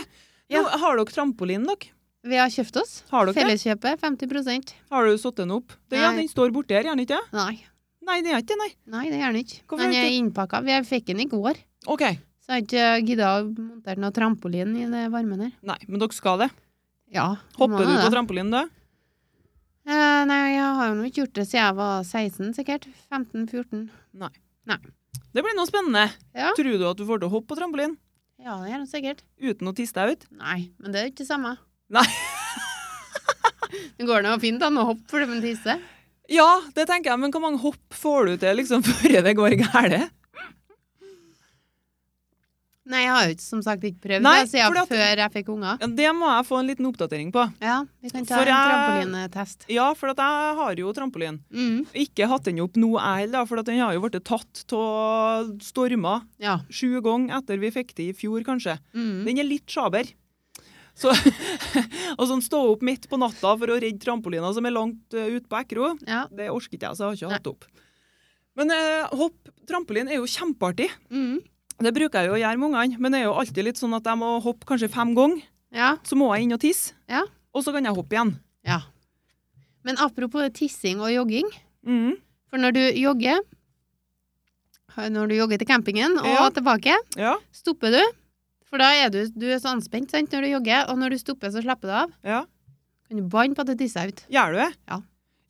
Speaker 1: Ja.
Speaker 2: nå, har dere trampolinen, dere?
Speaker 1: Vi har kjøpt oss.
Speaker 2: Har dere det?
Speaker 1: Felleskjøpet 50
Speaker 2: Har du satt den opp? Det, ja,
Speaker 1: Nei.
Speaker 2: den står borti her, gjør den ikke det?
Speaker 1: Nei.
Speaker 2: Nei, den er ikke det, nei.
Speaker 1: Nei, det gjør den ikke.
Speaker 2: Hvorfor
Speaker 1: Den er
Speaker 2: ikke?
Speaker 1: innpakka. Vi fikk den i går,
Speaker 2: OK.
Speaker 1: så jeg har ikke gidda å montere noe trampolin i det varmen her.
Speaker 2: Nei, men dere skal det.
Speaker 1: Ja. må
Speaker 2: Hopper du
Speaker 1: nå
Speaker 2: på
Speaker 1: det.
Speaker 2: trampolinen, da?
Speaker 1: Eh, nei, jeg har jo nå ikke gjort det siden jeg var 16, sikkert. 15-14.
Speaker 2: Det blir noe spennende.
Speaker 1: Ja.
Speaker 2: Tror du at du får til å hoppe på trampolin
Speaker 1: Ja, det gjør den sikkert.
Speaker 2: uten å tisse deg ut?
Speaker 1: Nei, men det er jo ikke det samme.
Speaker 2: Nei.
Speaker 1: det går nå fint an å hoppe for det med tisse.
Speaker 2: Ja, det tenker jeg, men hvor mange hopp får du til liksom før det går galt?
Speaker 1: Nei, jeg har jo ikke, som sagt ikke prøvd
Speaker 2: Nei,
Speaker 1: det siden
Speaker 2: fordi at-
Speaker 1: før jeg fikk unger.
Speaker 2: Ja, det må jeg få en liten oppdatering på.
Speaker 1: Ja, vi kan ta
Speaker 2: For
Speaker 1: en
Speaker 2: jeg-
Speaker 1: trampolinetest.
Speaker 2: Ja, for at jeg har jo trampolin.
Speaker 1: Mm,
Speaker 2: Ikke hatt den opp nå, jeg heller, for at den har jo blitt tatt av stormer
Speaker 1: ja.
Speaker 2: sju ganger etter vi fikk det i fjor, kanskje.
Speaker 1: Mm.
Speaker 2: Den er litt sjaber. Så, og sånn stå opp midt på natta for å redde trampolina som er langt eh, ut på Ekro,
Speaker 1: ja.
Speaker 2: det orker ikke jeg, så jeg har ikke hatt det opp. Men eh, hopp, trampolin er jo kjempeartig.
Speaker 1: Mm.
Speaker 2: Det bruker jeg jo å gjøre med ungene, men det er jo alltid litt sånn at jeg må hoppe kanskje fem ganger,
Speaker 1: ja.
Speaker 2: så må jeg inn og tisse,
Speaker 1: Ja.
Speaker 2: og så kan jeg hoppe igjen.
Speaker 1: Ja. Men apropos tissing og jogging.
Speaker 2: Mhm.
Speaker 1: For når du jogger, når du jogger til campingen og
Speaker 2: Ja.
Speaker 1: tilbake,
Speaker 2: Ja,
Speaker 1: stopper du. For da er du, du er så anspent sant, når du jogger, og når du stopper, så slapper du av.
Speaker 2: ja.
Speaker 1: Kan du banne på at det tisser ut?
Speaker 2: Gjør du det?
Speaker 1: Ja.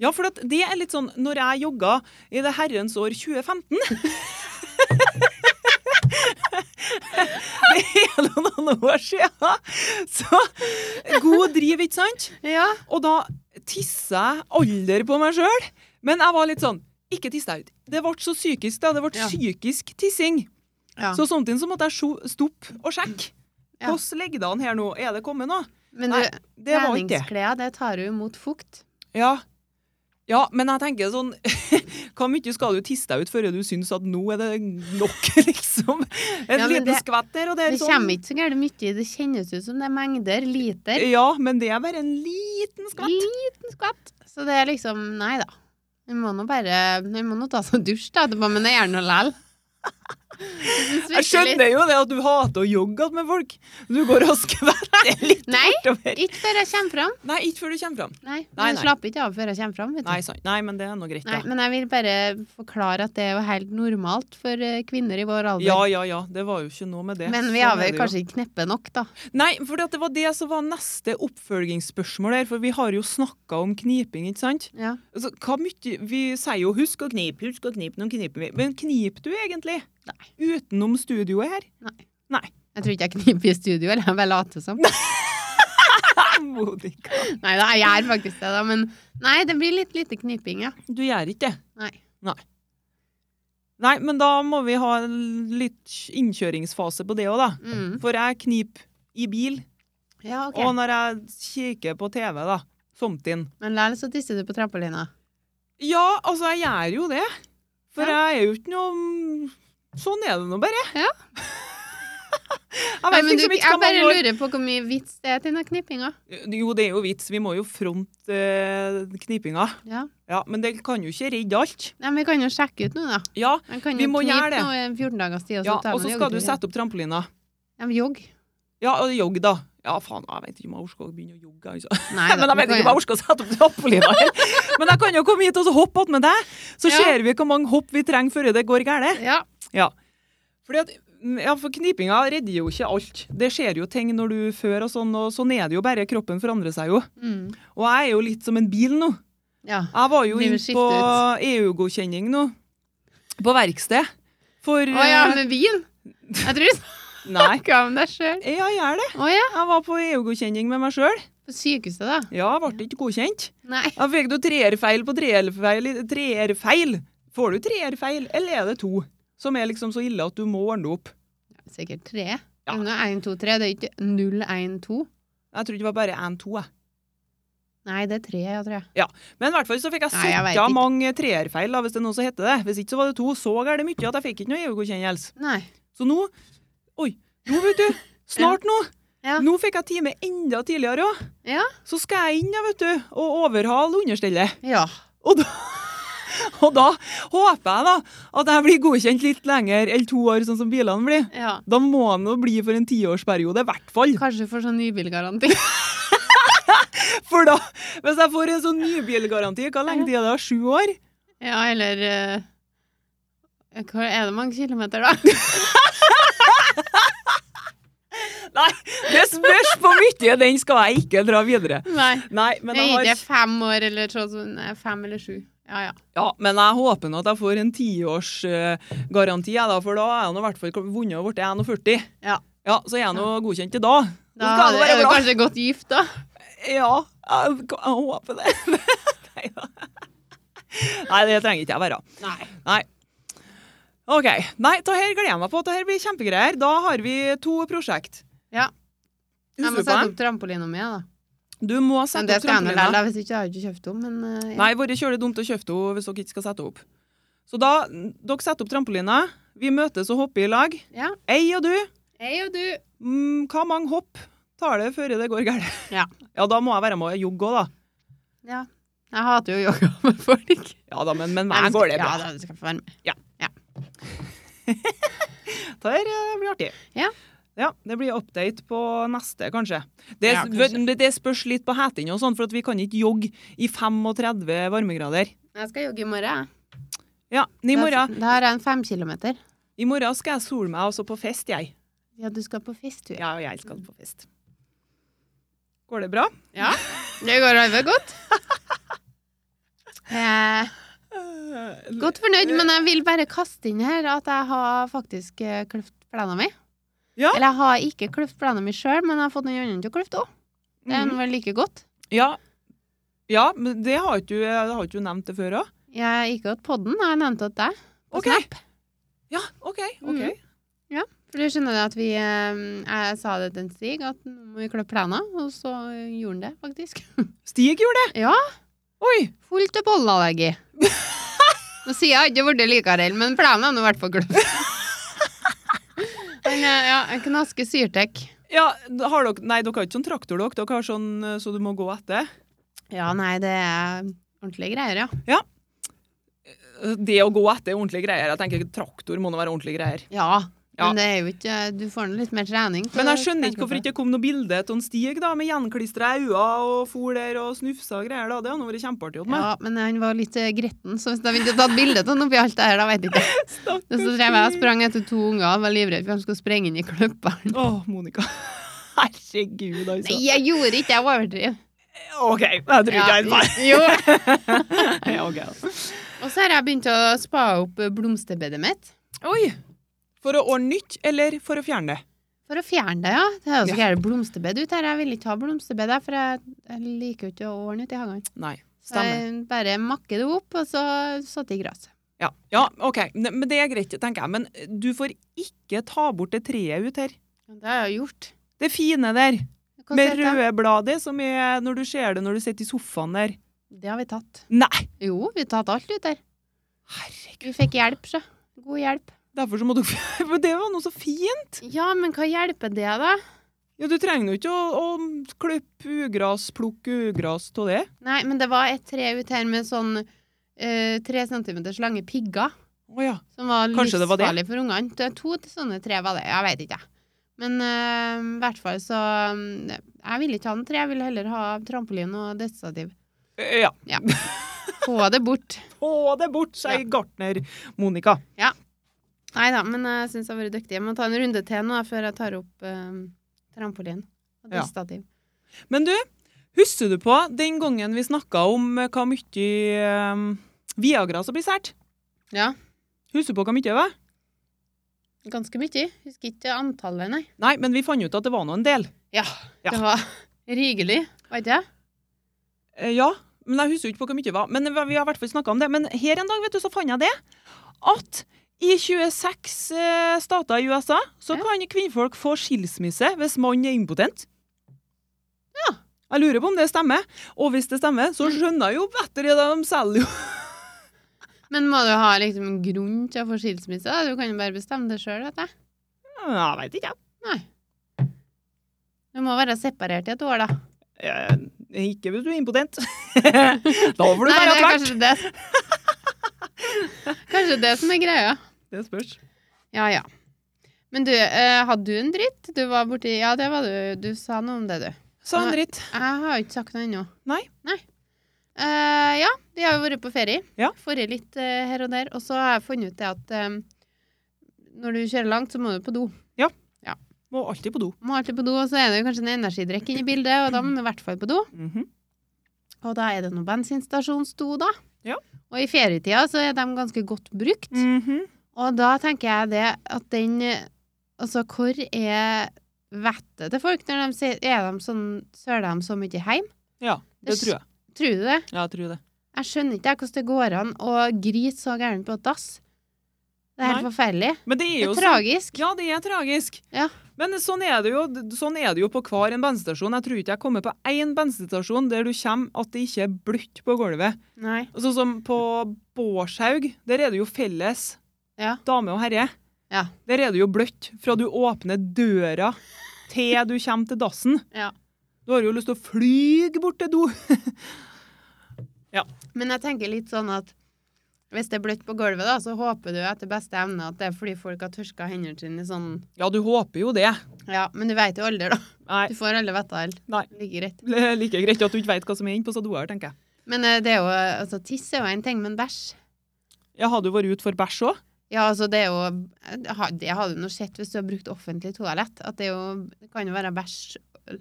Speaker 2: Ja, for at det er litt sånn Når jeg jogga i det herrens år 2015 Det er nå noen år siden. Så god driv, ikke sant?
Speaker 1: Ja.
Speaker 2: Og da tissa jeg alder på meg sjøl. Men jeg var litt sånn Ikke tiss deg ut. Det ble så psykisk, da. Det ble
Speaker 1: Ja.
Speaker 2: psykisk tissing.
Speaker 1: Ja.
Speaker 2: Så samtidig så måtte jeg sjo- stoppe og sjekke.
Speaker 1: Ja.
Speaker 2: Hvordan ligger det an her nå? Er det kommet noe?
Speaker 1: Men
Speaker 2: Nei,
Speaker 1: du,
Speaker 2: Det var ikke det.
Speaker 1: treningsklær, det tar jo imot fukt.
Speaker 2: Ja. ja, men jeg tenker sånn Hvor mye skal du tisse deg ut før du syns at nå er det nok, liksom? En
Speaker 1: Ja, men
Speaker 2: liten
Speaker 1: det-
Speaker 2: skvett der, og det er
Speaker 1: Det
Speaker 2: sånn
Speaker 1: kommer ikke så gærent mye, det kjennes ut som det er mengder, liter,
Speaker 2: Ja, men det er bare en liten skvett.
Speaker 1: liten skvatt. Så det er liksom, nei da. Vi må nå bare, vi må nå ta oss en dusj da, etterpå, men jeg gjør noe lel.
Speaker 2: Jeg skjønner jo det at du hater å jogge med folk. Du går og skvetter litt
Speaker 1: Nei,
Speaker 2: bortover.
Speaker 1: ikke før jeg kommer fram.
Speaker 2: Nei, ikke før du kommer fram.
Speaker 1: Nei,
Speaker 2: Nei,
Speaker 1: men
Speaker 2: nei.
Speaker 1: jeg slapper ikke av før jeg kommer fram, vet du.
Speaker 2: Nei, sant. Nei, men det er nå greit,
Speaker 1: Nei,
Speaker 2: da.
Speaker 1: men jeg vil bare forklare at det er jo helt normalt for eh, kvinner i vår alder.
Speaker 2: Ja, ja, ja. Det var jo ikke noe med det.
Speaker 1: men vi
Speaker 2: Sånn
Speaker 1: har
Speaker 2: er
Speaker 1: vel
Speaker 2: det jo.
Speaker 1: kanskje ikke kneppe nok, da.
Speaker 2: Nei, for det var det som var neste oppfølgingsspørsmål her, for vi har jo snakka om kniping, ikke sant?
Speaker 1: Ja.
Speaker 2: Altså, hva mye, vi sier jo 'husk å knipe', 'husk å knipe', noen kniper vi. Men kniper du egentlig?
Speaker 1: Nei.
Speaker 2: Utenom studioet her?
Speaker 1: Jeg tror ikke jeg kniper i studio, eller jeg bare later som.
Speaker 2: Jeg Bodika.
Speaker 1: Nei da, jeg gjør faktisk det, da, men Nei, det blir litt lite kniping, ja.
Speaker 2: Du gjør ikke det.
Speaker 1: Nei.
Speaker 2: Nei, men da må vi ha en litt innkjøringsfase på det òg, da.
Speaker 1: Mm.
Speaker 2: For jeg kniper i bil,
Speaker 1: Ja, OK.
Speaker 2: og når jeg kikker på TV, da, somtid
Speaker 1: Men likevel så tisser du på trampolina.
Speaker 2: Ja, altså, jeg gjør jo det. For
Speaker 1: Ja.
Speaker 2: jeg er jo ikke noe Sånn er det nå bare.
Speaker 1: Ja.
Speaker 2: jeg
Speaker 1: Nei,
Speaker 2: vet
Speaker 1: men du,
Speaker 2: liksom ikke
Speaker 1: jeg
Speaker 2: hva man
Speaker 1: bare
Speaker 2: går
Speaker 1: lurer på hvor mye vits det er til den knippinga.
Speaker 2: Jo, det er jo vits. Vi må jo fronte eh, knipinga.
Speaker 1: Ja.
Speaker 2: Ja, men det kan jo ikke redde alt.
Speaker 1: Nei, men vi kan jo sjekke ut nå, da.
Speaker 2: Ja,
Speaker 1: Man kan
Speaker 2: Vi
Speaker 1: jo
Speaker 2: må gjøre
Speaker 1: knipe
Speaker 2: det.
Speaker 1: nå i 14 dagers tid, og så
Speaker 2: ja
Speaker 1: tar
Speaker 2: og så
Speaker 1: man
Speaker 2: skal du
Speaker 1: joggetur.
Speaker 2: sette opp trampolina.
Speaker 1: Ja, men jogg.
Speaker 2: Ja, og jogg, da. Ja, faen, jeg vet ikke om jeg orker å begynne å jogge. Altså.
Speaker 1: Nei, da,
Speaker 2: Men jeg
Speaker 1: du
Speaker 2: vet
Speaker 1: kan
Speaker 2: ikke om jeg orker å sette opp trampolina her. Men jeg kan jo komme hit og så hoppe attmed deg, så
Speaker 1: Ja.
Speaker 2: ser vi hvor mange hopp vi trenger før det går galt.
Speaker 1: jo- Ja.
Speaker 2: Fordi at, mm, ja, for knipinga redder jo ikke alt. Det skjer jo ting når du før og sånn, og sånn er det jo bare. Kroppen forandrer seg jo.
Speaker 1: Mm.
Speaker 2: Og jeg er jo litt som en bil nå.
Speaker 1: ja.
Speaker 2: Jeg var jo
Speaker 1: Blir
Speaker 2: inn
Speaker 1: vel skiftet
Speaker 2: på
Speaker 1: ut.
Speaker 2: EU-godkjenning nå. På verksted. For
Speaker 1: Å ja,
Speaker 2: eh,
Speaker 1: med vin? Jeg tror du
Speaker 2: Nei.
Speaker 1: snakka om deg sjøl.
Speaker 2: Ja, jeg gjør det.
Speaker 1: Å ja.
Speaker 2: Jeg var på EU-godkjenning med meg sjøl.
Speaker 1: På sykehuset, da?
Speaker 2: Ja, jeg ble ikke godkjent.
Speaker 1: Nei.
Speaker 2: Da fikk du treerfeil på treerfeil. treerfeil. Får du treerfeil, eller er det to? Som er liksom så ille at du må ordne det opp.
Speaker 1: Sikkert tre.
Speaker 2: Ja.
Speaker 1: Ja. 1, 2, 3. Det er ikke 0, 1, 2.
Speaker 2: Jeg trodde det var bare én, to. jeg.
Speaker 1: Nei, det er tre, jeg tror jeg.
Speaker 2: Men i hvert fall så fikk jeg
Speaker 1: Nei, jeg vet
Speaker 2: sett av
Speaker 1: ikke.
Speaker 2: mange treerfeil, da, hvis det er noe som heter det. Hvis ikke så var det to. Så er det mye at jeg fikk ikke noe EU-godkjennelse.
Speaker 1: Nei.
Speaker 2: Så nå Oi, nå vet du. Snart nå.
Speaker 1: Ja.
Speaker 2: Nå fikk jeg time enda tidligere òg.
Speaker 1: Ja.
Speaker 2: Så skal jeg inn ja, vet du, og overhale understellet.
Speaker 1: Ja.
Speaker 2: Og da, og da håper jeg da at jeg blir godkjent litt lenger enn to år, sånn som bilene blir.
Speaker 1: ja.
Speaker 2: Da må han jo bli for en tiårsperiode, i hvert fall.
Speaker 1: Kanskje for sånn nybilgaranti.
Speaker 2: For da, hvis jeg får en sånn nybilgaranti, hva lenge tid er det? Sju år?
Speaker 1: Ja, eller eh, hva Er det mange kilometer, da?
Speaker 2: Nei, det spørs på mye. Den skal jeg ikke dra videre.
Speaker 1: Nei.
Speaker 2: Nei, men
Speaker 1: det
Speaker 2: jeg,
Speaker 1: er
Speaker 2: har,
Speaker 1: ikke fem år eller sånn. som- nei, Fem eller sju. Ja, ja.
Speaker 2: ja, men jeg håper nå at jeg får en tiårsgaranti, uh, for da er jeg nå i hvert fall vunnet og blitt 41.
Speaker 1: Ja.
Speaker 2: ja, så er jeg nå godkjent til da.
Speaker 1: Da
Speaker 2: skal du være
Speaker 1: er du
Speaker 2: glad.
Speaker 1: kanskje godt gift, da.
Speaker 2: Ja, jeg, jeg håper det. Nei, da. Nei, det trenger ikke jeg være.
Speaker 1: Nei.
Speaker 2: Ok, Nei, det her gleder jeg meg på. Det her blir kjempegreier. Da har vi to prosjekt.
Speaker 1: Ja. Jeg må
Speaker 2: Husker du
Speaker 1: sette
Speaker 2: på
Speaker 1: opp trampolina mi, da.
Speaker 2: dem? Du må
Speaker 1: Men
Speaker 2: sette
Speaker 1: det
Speaker 2: opp
Speaker 1: skal jeg nå lære,
Speaker 2: trampolina.
Speaker 1: da, hvis ikke jeg har jeg ikke kjøpt om. Men eh, ja.
Speaker 2: Nei, det vært kjølig dumt å kjøpe henne hvis dere ikke skal sette opp. Så da, dere setter opp trampolina. Vi møtes og hopper i lag.
Speaker 1: Ja.
Speaker 2: Ei og du.
Speaker 1: Jeg og du.
Speaker 2: Mm, hva mange hopp tar det før det går galt?
Speaker 1: Ja.
Speaker 2: ja, da må jeg være med og jogge òg, da.
Speaker 1: Ja. Jeg hater jo yoga med folk.
Speaker 2: Ja da, men, men
Speaker 1: Nei,
Speaker 2: meg
Speaker 1: men
Speaker 2: går
Speaker 1: skal-
Speaker 2: det bra.
Speaker 1: Ja, da, du skal få være med.
Speaker 2: Det her eh, blir artig.
Speaker 1: Ja.
Speaker 2: Ja, Det blir update på neste, kanskje. Det,
Speaker 1: Ja, kanskje.
Speaker 2: det- det spørs litt på hetene og sånn, for at vi kan ikke jogge i 35 varmegrader.
Speaker 1: Jeg skal jogge i morgen. jeg.
Speaker 2: Ja, men i
Speaker 1: Da-
Speaker 2: morgen,
Speaker 1: Da har jeg en fem kilometer.
Speaker 2: i morgen skal jeg sole meg også på fest, jeg.
Speaker 1: Ja, du skal på festtur.
Speaker 2: Ja, og jeg skal på fest. Går det bra?
Speaker 1: Ja, det går veldig godt. Eh,
Speaker 2: Eh,
Speaker 1: godt fornøyd, men jeg vil bare kaste inn her at jeg har faktisk eh, kløft plenen min.
Speaker 2: Ja.
Speaker 1: Eller jeg har ikke kløft plenen min sjøl, men jeg har fått noen andre til å kløfte òg. Det er
Speaker 2: Mhm.
Speaker 1: vel like godt.
Speaker 2: Ja. ja, men det har ikke du det har ikke du nevnt det før òg?
Speaker 1: Jeg ikke hatt podden, jeg har nevnt at deg. På
Speaker 2: Ok.
Speaker 1: Snap.
Speaker 2: Ja, OK. ok.
Speaker 1: Mm. For du skjønner at vi eh, Jeg sa det til en Stig, at nå må vi klø plenen, og så gjorde han det, faktisk.
Speaker 2: Stig gjorde det!
Speaker 1: Ja.
Speaker 2: Oi!
Speaker 1: Fullt av pollenallergi. Nå sier jeg ikke det ble likevel, men plenen er nå i hvert fall gløtt. Men eh, ja, en knaske syrtek.
Speaker 2: Ja, da har dere, nei, dere har ikke sånn traktor, dere. Dere har sånn eh, så du må gå etter.
Speaker 1: Ja, nei, det er ordentlige greier, ja.
Speaker 2: Eh, Det å gå etter er ordentlige greier. Jeg tenker Traktor må nå være ordentlige greier.
Speaker 1: Ja,
Speaker 2: Ja.
Speaker 1: men det er jo ikke Du får nå litt mer trening.
Speaker 2: Men Eh, jeg skjønner ikke hvorfor det ikke kom noe bilde av en Stig da, med gjenklistra øyne og for der og snufsa og greier. da. Det hadde nå vært kjempeartig. Ja.
Speaker 1: Ja, men han var litt eh, gretten, så hvis de ikke hadde tatt bilde av han oppi alt det her, da veit jeg ikke. Og så drev jeg og sprang etter to unger og var livredd for han skulle sprenge inn i kløpperen.
Speaker 2: Å, Monica. Herregud, altså.
Speaker 1: Nei, jeg gjorde ikke det, jeg overdriver.
Speaker 2: OK, jeg tror ikke jeg er en feil.
Speaker 1: jo.
Speaker 2: Ja, ok, altså.
Speaker 1: Og så har jeg begynt å spa opp eh, blomsterbedet mitt.
Speaker 2: Oi! For å ordne nytt, eller for å fjerne det?
Speaker 1: For å fjerne det, ja. Det er jo så
Speaker 2: Ja.
Speaker 1: gærent blomsterbed ute her. Jeg vil ikke ha blomsterbed her, for jeg, jeg liker jo ikke å ordne ute i hagen.
Speaker 2: Nei.
Speaker 1: Så
Speaker 2: Stemmer.
Speaker 1: Jeg bare makker det opp, og så satte jeg i gresset.
Speaker 2: Ja. ja, OK. Ne- Men det er greit, tenker jeg. Men du får ikke ta bort det treet ut her.
Speaker 1: Det har jeg jo gjort.
Speaker 2: Det fine der,
Speaker 1: Hva
Speaker 2: med
Speaker 1: heter det?
Speaker 2: røde bladet, som er når du ser det når du sitter i sofaen der.
Speaker 1: Det har vi tatt.
Speaker 2: Nei!
Speaker 1: Jo, vi har tatt alt ut der.
Speaker 2: Herregud.
Speaker 1: Vi fikk hjelp, så. God hjelp.
Speaker 2: Derfor så må du Men det var noe så fint!
Speaker 1: Ja, men hva hjelper det, da?
Speaker 2: Ja, du trenger jo ikke å, å klippe ugras, plukke ugras av det.
Speaker 1: Nei, men det var et tre ut her med sånn eh, tre centimeters lange pigger.
Speaker 2: Å ja.
Speaker 1: Som var
Speaker 2: Kanskje det var det?
Speaker 1: livsfarlig for ungene. Det er To til sånne tre var det. Jeg vet ikke. jeg. Men eh, i hvert fall så mm, Jeg ville ikke ha noe tre. Jeg ville heller ha trampoline og dødsstativ.
Speaker 2: Eh, Ja.
Speaker 1: Få det bort.
Speaker 2: Få det bort, sier gartner Monica.
Speaker 1: Nei da, men jeg syns jeg har vært dyktig. Jeg må ta en runde til nå før jeg tar opp eh, trampoline og
Speaker 2: Ja.
Speaker 1: dødsstativ.
Speaker 2: Men du, husker du på den gangen vi snakka om eh, hva mye eh, Viagra som blir sært?
Speaker 1: Ja.
Speaker 2: Husker du på hva mye det var?
Speaker 1: Ganske mye. Husker ikke antallet, nei.
Speaker 2: Nei, men vi fant ut at det var nå en del.
Speaker 1: Ja,
Speaker 2: Ja.
Speaker 1: det var rygelig, var ikke det?
Speaker 2: Eh, Ja, men jeg husker jo ikke på hvor mye det var. Men vi har i hvert fall snakket om det. Men her en dag, vet du, så fant jeg det. At i 26 eh, stater i USA så
Speaker 1: Ja.
Speaker 2: kan kvinnfolk få skilsmisse hvis mannen er impotent.
Speaker 1: Ja. Mm.
Speaker 2: Jeg lurer på om det stemmer. Og hvis det stemmer, så skjønner jeg jo etter det de selger jo.
Speaker 1: Men må du ha liksom en grunn til å få skilsmisse? da? Du kan jo bare bestemme det sjøl, vet du.
Speaker 2: Jeg vet ikke, jeg.
Speaker 1: Du må være separert i et år, da.
Speaker 2: Eh, Ikke hvis du er impotent. da får du
Speaker 1: Nei,
Speaker 2: være
Speaker 1: det er
Speaker 2: tvert.
Speaker 1: kanskje det. kanskje det som er greia.
Speaker 2: Det spørs.
Speaker 1: Ja, ja. Men du, eh, hadde du en dritt? Du var borti Ja, det var du. Du sa noe om det, du.
Speaker 2: Sa en dritt.
Speaker 1: Jeg har jo ikke sagt noe ennå.
Speaker 2: Nei.
Speaker 1: Eh, ja, vi har jo vært på ferie.
Speaker 2: Ja.
Speaker 1: Forrige litt eh, her og der. Og så har jeg funnet ut det at eh, når du kjører langt, så må du på do.
Speaker 2: Må alltid på do.
Speaker 1: Må alltid på do, og så er det jo kanskje en energidrikk inne i bildet, og da må du i hvert fall på do.
Speaker 2: Mhm.
Speaker 1: Og da er det noen bensinstasjonsdo, da.
Speaker 2: Ja.
Speaker 1: Og i ferietida så er de ganske godt brukt.
Speaker 2: Mhm.
Speaker 1: Og da tenker jeg det at den eh, Altså, hvor er vettet til folk når de sier Er de sånn Søler de så mye heim?
Speaker 2: Ja, det
Speaker 1: Det
Speaker 2: tror jeg.
Speaker 1: Tror du det?
Speaker 2: Ja, jeg tror det.
Speaker 1: Jeg skjønner ikke jeg hvordan det går an å grite så gærent på et dass. Det er helt
Speaker 2: Nei.
Speaker 1: forferdelig.
Speaker 2: Men det er
Speaker 1: Det er
Speaker 2: jo sånn
Speaker 1: tragisk.
Speaker 2: Ja, det er tragisk.
Speaker 1: Ja.
Speaker 2: Men sånn er, det jo, sånn er det jo på hver en bensinstasjon. Jeg tror ikke jeg kommer på én bensinstasjon der du kommer at det ikke er bløtt på gulvet.
Speaker 1: Nei.
Speaker 2: Sånn som på Bårshaug, der er det jo felles
Speaker 1: Ja.
Speaker 2: dame og herre.
Speaker 1: Ja.
Speaker 2: Der er det jo bløtt fra du åpner døra til du kommer til dassen.
Speaker 1: Ja.
Speaker 2: Du har jo lyst til å fly bort til do.
Speaker 1: Men jeg tenker litt sånn at hvis det er bløtt på gulvet, da, så håper du etter beste evne at det er fordi folk har tørka hendene sine i sånn
Speaker 2: Ja, du håper jo det.
Speaker 1: Ja, men du veit jo aldri, da.
Speaker 2: Nei,
Speaker 1: Du får aldri vite alt.
Speaker 2: Nei.
Speaker 1: Like greit.
Speaker 2: like greit at du ikke vet hva som er inne på doer, tenker jeg.
Speaker 1: Men eh, det er jo eh, Altså, tiss er jo en ting, men bæsj
Speaker 2: Ja, har du vært ute for bæsj òg?
Speaker 1: Ja, altså, det er jo eh, ha- Det har du nå sett hvis du har brukt offentlig toalett, at det er jo Det kan jo være bæsj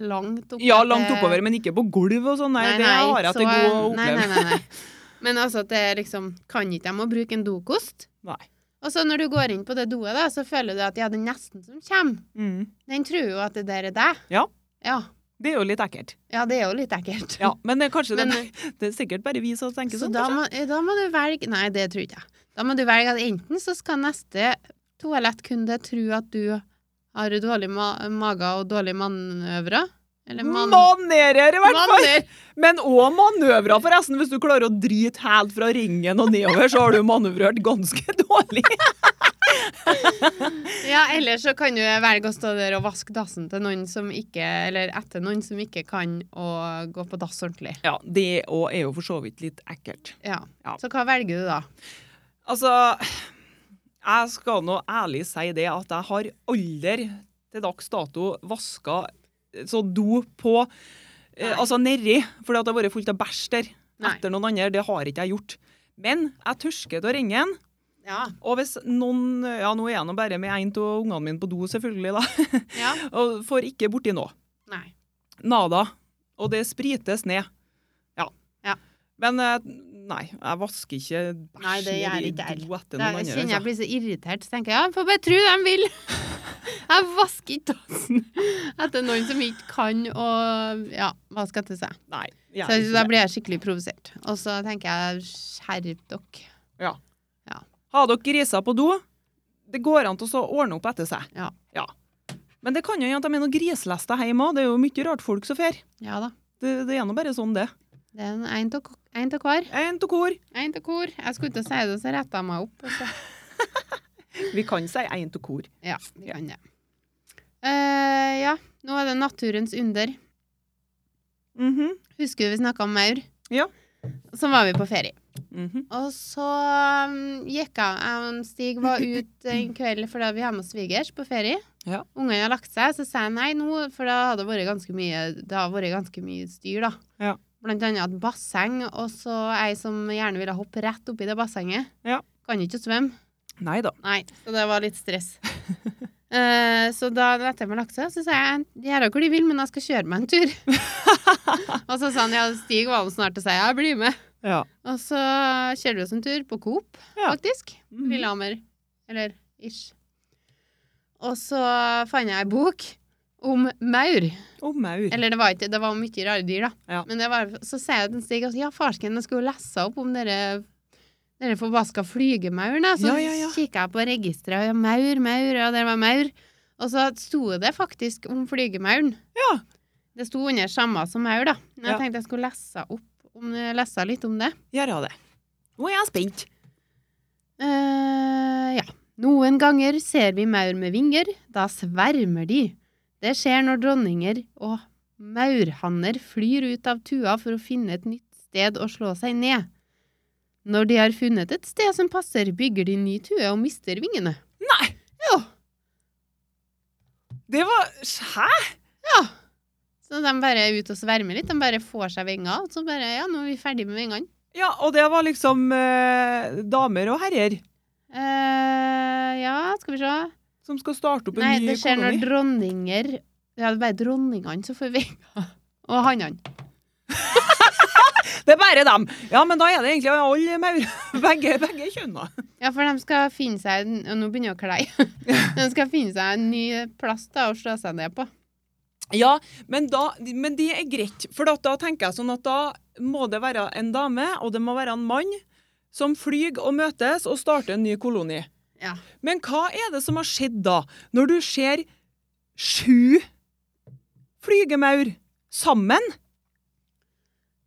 Speaker 1: langt opp
Speaker 2: Ja,
Speaker 1: at
Speaker 2: langt
Speaker 1: det-
Speaker 2: oppover, men ikke på gulv og sånn. eh, Nei, eh, det har jeg til
Speaker 1: så-
Speaker 2: god å
Speaker 1: nei,
Speaker 2: oppleve.
Speaker 1: Nei, nei, nei. Men altså at det er liksom Kan ikke de å bruke en dokost?
Speaker 2: Nei.
Speaker 1: Og så når du går inn på det doet, da, så føler du at ja, den nesten som kommer,
Speaker 2: Mm.
Speaker 1: den tror jo at det der er deg.
Speaker 2: Ja.
Speaker 1: Ja,
Speaker 2: Det er jo litt ekkelt.
Speaker 1: ja det er jo litt ekkelt.
Speaker 2: Ja, men det, er kanskje
Speaker 1: Men,
Speaker 2: det, det er sikkert bare vi som tenker
Speaker 1: Så
Speaker 2: sånn.
Speaker 1: da
Speaker 2: kanskje.
Speaker 1: må, eh, da må du velge Nei, det tror ikke jeg. Da må du velge at enten så skal neste toalettkunde tro at du har dårlig ma mage og dårlige manøvrer. Eller man...
Speaker 2: Manerer, i hvert fall!
Speaker 1: Maner!
Speaker 2: Men òg manøvrer, forresten. Hvis du klarer å drite helt fra ringen og nedover, så har du manøvrert ganske dårlig.
Speaker 1: Ja, eller så kan du velge å stå der og vaske dassen til noen som ikke Eller etter noen som ikke kan å gå på dass ordentlig.
Speaker 2: Ja, det òg er jo for så vidt litt ekkelt.
Speaker 1: Ja.
Speaker 2: Ja.
Speaker 1: Så hva velger du da?
Speaker 2: Altså, jeg skal nå ærlig si det at jeg har aldri til dags dato vaska så do på eh,
Speaker 1: Nei.
Speaker 2: Altså nedi, fordi at det har vært fullt av bæsj der.
Speaker 1: Nei.
Speaker 2: Etter noen andre. Det har ikke jeg gjort. Men jeg tørsker av ringen.
Speaker 1: Ja.
Speaker 2: Og hvis noen Ja, nå er jeg nå bare med en av ungene mine på do, selvfølgelig, da.
Speaker 1: ja.
Speaker 2: Og får ikke borti nå.
Speaker 1: Nei.
Speaker 2: Nada. Og det sprites ned. Ja.
Speaker 1: Ja.
Speaker 2: Men eh, nei, jeg vasker ikke
Speaker 1: Nei, det
Speaker 2: bæsj
Speaker 1: gjør
Speaker 2: ned i
Speaker 1: ikke jeg
Speaker 2: do etter
Speaker 1: Da
Speaker 2: noen andre.
Speaker 1: kjenner jeg
Speaker 2: altså.
Speaker 1: blir så irritert, så tenker jeg ja, får bare tro de vil. Jeg vasker ikke dassen etter noen som ikke kan å ja, vaske etter seg.
Speaker 2: Nei. jeg
Speaker 1: Så
Speaker 2: er
Speaker 1: jeg-
Speaker 2: ikke
Speaker 1: da
Speaker 2: det.
Speaker 1: blir jeg skikkelig provosert. Og så tenker jeg skjerp dere.
Speaker 2: Har dere griser på do? Det går an til å så ordne opp etter seg.
Speaker 1: Ja.
Speaker 2: Men det kan jo hende at de er noen grislester hjemme òg. Det er jo mye rart folk som fer.
Speaker 1: Ja da.
Speaker 2: Det, det er nå bare sånn, det.
Speaker 1: Det er en- en til ko- en til hver.
Speaker 2: En til kor.
Speaker 1: En til kor. Jeg skulle ikke si det, så retta jeg meg opp. og så-
Speaker 2: Vi kan si en til kor.
Speaker 1: Ja, vi kan det. Eh, ja, nå er det naturens under.
Speaker 2: Mhm.
Speaker 1: Husker du vi snakka om maur?
Speaker 2: Ja.
Speaker 1: Så var vi på ferie.
Speaker 2: Mhm.
Speaker 1: Og så um, gikk jeg um, Stig var ut en kveld fordi vi har med oss svigers på ferie.
Speaker 2: Ja.
Speaker 1: Ungene har lagt seg, så sa jeg nei nå, for da hadde det vært ganske mye, det har vært ganske mye styr. da.
Speaker 2: Ja.
Speaker 1: Blant annet et basseng, og så ei som gjerne ville hoppe rett oppi det bassenget.
Speaker 2: Ja.
Speaker 1: Kan ikke svømme.
Speaker 2: Nei da.
Speaker 1: Nei, så det var litt stress. Eh, så da etter meg lagt seg, så sa jeg de gjør hva de vil, men jeg skal kjøre meg en tur. og så sa han ja, Stig var jo snart til å si jeg blir med.
Speaker 2: Ja.
Speaker 1: Og så kjører vi oss en tur på Coop,
Speaker 2: Ja.
Speaker 1: faktisk.
Speaker 2: Mhm.
Speaker 1: Lillehammer. Eller ish. Og så fant jeg ei bok om maur.
Speaker 2: Og maur.
Speaker 1: Eller det var ikke, det var om mye rare dyr, da.
Speaker 2: Ja.
Speaker 1: Men det var, så sier jeg til Stig at ja, farsken, jeg skulle jo lese opp om dere dere forbaska flygemauren. da. Så
Speaker 2: Ja, ja, ja.
Speaker 1: kikket jeg på registeret, og ja, maur, maur, og der var maur. Og så sto det faktisk om flygemauren.
Speaker 2: Ja.
Speaker 1: Det sto under samme som maur, da. Men jeg
Speaker 2: Ja.
Speaker 1: tenkte jeg skulle lese, opp, om, lese litt om det.
Speaker 2: Gjør jeg det. Nå er jeg spent.
Speaker 1: eh ja. Noen ganger ser vi maur med vinger, da svermer de. Det skjer når dronninger og maurhanner flyr ut av tua for å finne et nytt sted å slå seg ned. Når de har funnet et sted som passer, bygger de ny tue og mister vingene.
Speaker 2: Nei!
Speaker 1: Jo,
Speaker 2: Det var Hæ?
Speaker 1: så de bare er ute og svermer litt. De bare får seg vinger, og så bare Ja, nå er vi ferdig med vingene.
Speaker 2: Ja, og det var liksom eh, damer og herrer
Speaker 1: eh ja, skal vi se.
Speaker 2: som skal starte opp en
Speaker 1: Nei,
Speaker 2: ny
Speaker 1: det skjer når
Speaker 2: koloni.
Speaker 1: dronninger Ja, det er bare dronningene som får vinger. Og hannene.
Speaker 2: Det er bare dem! Ja, men da er det egentlig alle maur. Begge, begge kjønna.
Speaker 1: Ja, for de skal finne seg en- Og nå begynner jeg å kleie. De skal finne seg en ny plass da, å slå seg ned på.
Speaker 2: Ja, men, da, men det er greit. For at da tenker jeg sånn at da må det være en dame, og det må være en mann, som flyr og møtes og starter en ny koloni.
Speaker 1: Ja.
Speaker 2: Men hva er det som har skjedd da, når du ser sju flygemaur sammen?
Speaker 1: Ja,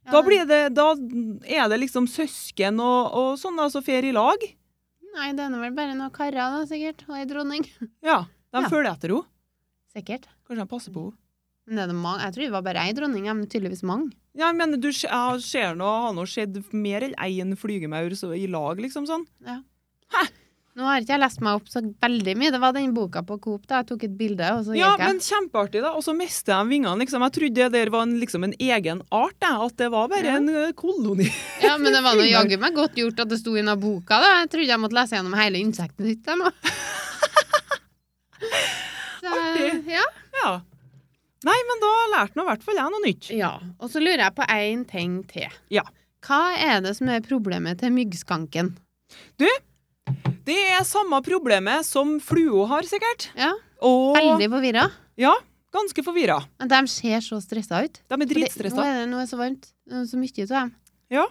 Speaker 2: Da, blir det, da er det liksom søsken og, og sånn da, som fer i lag.
Speaker 1: Nei, det er nå vel bare noen karer, da, sikkert. Og ei dronning.
Speaker 2: Ja, de
Speaker 1: Ja.
Speaker 2: følger etter henne.
Speaker 1: Sikkert.
Speaker 2: Kanskje de passer på henne.
Speaker 1: Men det er det mange. Jeg tror det var bare ei dronning, ja, men tydeligvis mange.
Speaker 2: Ja, men du se- jeg ser nå, har nå skjedd mer enn én flygemaur så, i lag, liksom sånn.
Speaker 1: Nå har ikke jeg lest meg opp så veldig mye. Det var den boka på Coop, da. Jeg tok et bilde, og så
Speaker 2: Ja,
Speaker 1: gikk jeg.
Speaker 2: men kjempeartig, da. Og så mister de vingene, liksom. Jeg trodde det der var en, liksom en egen art, jeg. At det var bare
Speaker 1: Ja.
Speaker 2: en eh, koloni.
Speaker 1: Ja, men det var noe
Speaker 2: Filmer.
Speaker 1: jaggu meg godt gjort at det sto inna boka. da. Jeg trodde jeg måtte lese gjennom hele insektet ditt. jeg, nå. Så,
Speaker 2: Artig.
Speaker 1: ja.
Speaker 2: Ja. Nei, men da lærte nå i hvert fall jeg noe nytt.
Speaker 1: ja. Og så lurer jeg på én ting til.
Speaker 2: Ja.
Speaker 1: Hva er det som er problemet til myggskanken?
Speaker 2: Det er samme problemet som fluo har, sikkert.
Speaker 1: Ja,
Speaker 2: Og
Speaker 1: Veldig forvirra.
Speaker 2: Ja, ganske forvirra.
Speaker 1: Men De ser så stressa ut.
Speaker 2: De
Speaker 1: For
Speaker 2: er
Speaker 1: det- Nå
Speaker 2: dritstressa.
Speaker 1: er det noe så varmt. Det er så mye av dem.
Speaker 2: Ja.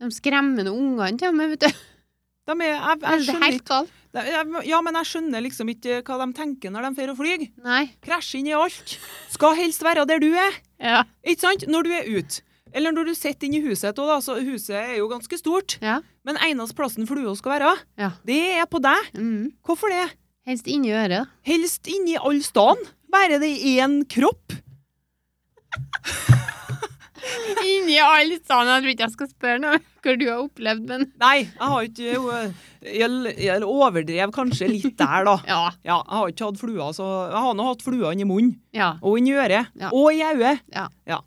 Speaker 1: De skremmer nå ungene til og med, vet du.
Speaker 2: De er, jeg, jeg
Speaker 1: Det er
Speaker 2: skjønner,
Speaker 1: helt galt.
Speaker 2: ikke- jeg- ja, men jeg skjønner liksom ikke hva de tenker når de drar og flyr.
Speaker 1: Nei.
Speaker 2: Krasjer inn i alt. Skal helst være der du er.
Speaker 1: Ja.
Speaker 2: Ikke sant? Når du er ute. Eller når du sitter inne i huset. Og da, så huset er jo ganske stort.
Speaker 1: Ja.
Speaker 2: Men eneste plassen flua skal være,
Speaker 1: Ja.
Speaker 2: det er på deg.
Speaker 1: Mm.
Speaker 2: Hvorfor det?
Speaker 1: Helst inni øret. da.
Speaker 2: Helst inni all staden. Bare det er én kropp.
Speaker 1: Inni alle stedene. Jeg tror ikke jeg skal spørre noe hva du har opplevd, men
Speaker 2: Nei, jeg har ikke jo, Jeg, jeg overdrev kanskje litt der, da.
Speaker 1: Ja.
Speaker 2: Ja, jeg har ikke hatt flua, så Jeg har nå hatt flua inni munnen.
Speaker 1: Ja.
Speaker 2: Og inni øret.
Speaker 1: Ja.
Speaker 2: Og i øyet.
Speaker 1: Ja.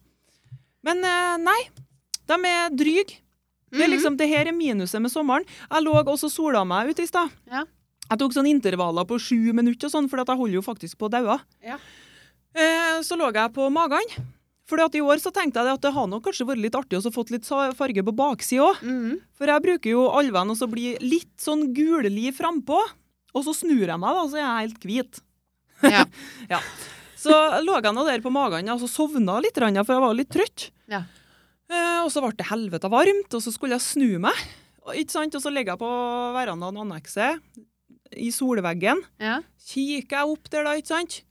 Speaker 2: Men eh, nei, de er dryge. Det,
Speaker 1: Mm.
Speaker 2: er
Speaker 1: Mhm.
Speaker 2: liksom, det her er minuset med sommeren. Jeg lå også sola meg ute i stad.
Speaker 1: Ja.
Speaker 2: Jeg tok sånne intervaller på sju minutter, og sånn, for at jeg holder jo faktisk på å daue.
Speaker 1: Ja.
Speaker 2: Eh, så lå jeg på magen. Fordi at i år så tenkte jeg det at det har nok kanskje vært litt artig å fått litt sa- farge på baksida òg.
Speaker 1: Mhm.
Speaker 2: For jeg bruker jo alven og så blir litt sånn gullig frampå. Og så snur jeg meg, da, så er jeg helt hvit.
Speaker 1: Ja.
Speaker 2: Så lå jeg nå der på magen og så sovna litt, grann, for jeg var litt trøtt.
Speaker 1: Ja.
Speaker 2: Eh, og så ble det helvete varmt, og så skulle jeg snu meg. Og, ikke sant? og så ligger jeg på verandaen og annekset i solveggen.
Speaker 1: Ja.
Speaker 2: Kikker jeg opp der, da, ikke sant?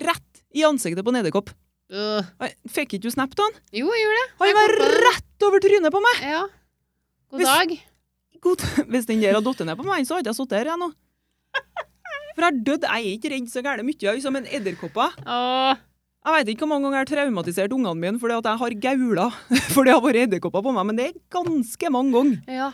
Speaker 2: Rett i ansiktet på Nederkopp.
Speaker 1: Øh.
Speaker 2: Oi, Fikk ikke du snap av han?
Speaker 1: Jo, jeg gjorde det.
Speaker 2: Han
Speaker 1: Jeg
Speaker 2: var
Speaker 1: kom på det.
Speaker 2: rett over trynet på meg!
Speaker 1: Ja. God
Speaker 2: Hvis-
Speaker 1: dag.
Speaker 2: God. Hvis den der hadde datt ned på meg, så hadde jeg sittet her jeg nå. For jeg har dødd. Jeg er ikke redd så gærent mye, jeg er som en edderkopper.
Speaker 1: Åh.
Speaker 2: Jeg vet ikke hvor mange ganger jeg har traumatisert ungene mine fordi at jeg har gaula fordi det har vært edderkopper på meg, men det er ganske mange ganger.
Speaker 1: Ja.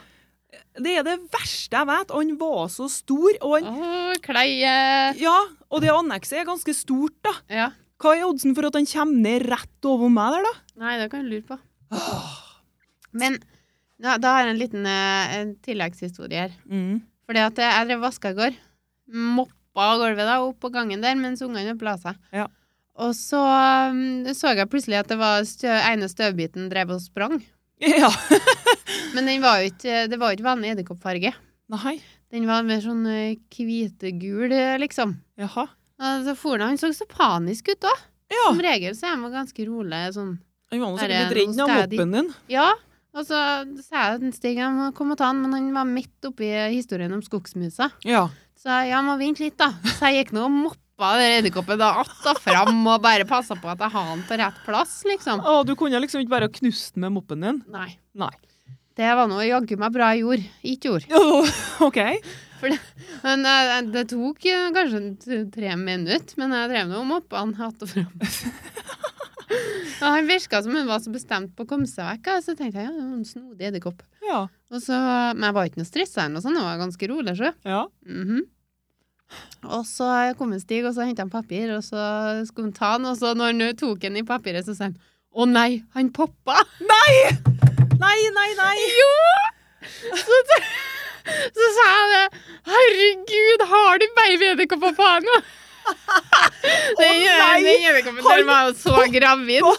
Speaker 2: Det er det verste jeg vet. Han var så stor, og han
Speaker 1: Åh, kleie.
Speaker 2: Ja, og det annekset er ganske stort, da.
Speaker 1: Ja.
Speaker 2: Hva er oddsen for at han kommer ned rett over meg der, da?
Speaker 1: Nei, det kan du lure på. Men ja, da har jeg en liten eh, en tilleggshistorie her.
Speaker 2: Mm.
Speaker 1: Fordi at jeg drev vaska i går. Moppa gulvet da, opp på gangen der mens ungene pla seg.
Speaker 2: Ja.
Speaker 1: Og så um, så jeg plutselig at det var stø ene støvbiten drev og sprang.
Speaker 2: Ja.
Speaker 1: Men den var jo ikke, det var jo ikke vanlig edderkoppfarge.
Speaker 2: Nei.
Speaker 1: Den var mer sånn eh, hvitegul, eh, liksom.
Speaker 2: Jaha.
Speaker 1: Og så for han, han så så panisk ut òg.
Speaker 2: Ja.
Speaker 1: Som regel så er man ganske rolig sånn.
Speaker 2: Han var nå
Speaker 1: Her er
Speaker 2: sikkert litt
Speaker 1: noe
Speaker 2: redd av
Speaker 1: stadig.
Speaker 2: moppen din.
Speaker 1: Ja. Og så sa jeg til Stig jeg må komme og ta han, men han var midt oppi historien om skogsmusa.
Speaker 2: Ja.
Speaker 1: Så jeg, ja, må vente litt, da. Så jeg gikk nå og moppa den edderkoppen da att og fram og bare passa på at jeg har den på rett plass, liksom.
Speaker 2: Å, du kunne liksom ikke bare knust den med moppen din?
Speaker 1: Nei.
Speaker 2: Nei.
Speaker 1: Det var nå jaggu meg bra jord. Ikke jord.
Speaker 2: Åh, OK.
Speaker 1: Men eh, det tok eh, kanskje en t- tre minutter, men jeg drev nå og moppa han att og fram. Og han virka som han var så bestemt på å komme seg vekk, og så tenkte jeg ja, det var en snodig edderkopp.
Speaker 2: Ja.
Speaker 1: Og så, men jeg var ikke noe stressa eller noe sånt, jeg var ganske rolig, sjø.
Speaker 2: ja.
Speaker 1: Mhm. Og så kom en Stig, og så hentet han papir, og så skulle han ta han, og så når han tok han i papiret, så sa han å nei, han poppa!
Speaker 2: Nei, nei, nei!
Speaker 1: Så sa jeg det. Herregud, har du babyedderkopper på han nå? Den
Speaker 2: nei,
Speaker 1: den edderkoppen der
Speaker 2: han
Speaker 1: var jo så gravid.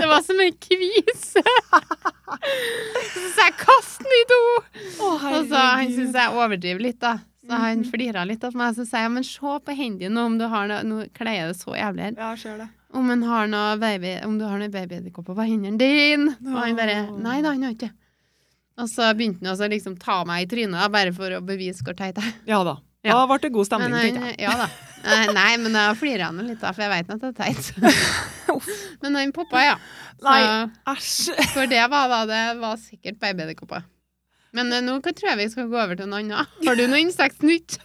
Speaker 1: Det var som en kvise. Så sa jeg kast den i to!
Speaker 2: Å,
Speaker 1: Og så Han syns jeg overdriver litt, da. Så han flirer litt av meg. Så sier jeg men se på hendene dine om du har noe Nå kler jeg det så jævlig her.
Speaker 2: Ja, jeg ser det.
Speaker 1: Om, han har noe baby, om du har noe babyedderkopper på hendene dine. Og han bare Nei da, han har ikke det. Og så begynte han også å liksom ta meg i trynet, da, bare for å bevise hvor teit jeg er.
Speaker 2: Ja da. Da
Speaker 1: Ja.
Speaker 2: ble det god stemning,
Speaker 1: Men
Speaker 2: tenkte jeg.
Speaker 1: han- Ja da. Eh, Nei, men jeg flirer han litt, da, for jeg vet at det er teit. Men han poppa, ja. Så,
Speaker 2: Nei. Æsj.
Speaker 1: for det var da det var sikkert babyedderkopper. Men eh, nå kan- tror jeg vi skal gå over til noe annet. Har du noe insektnytt?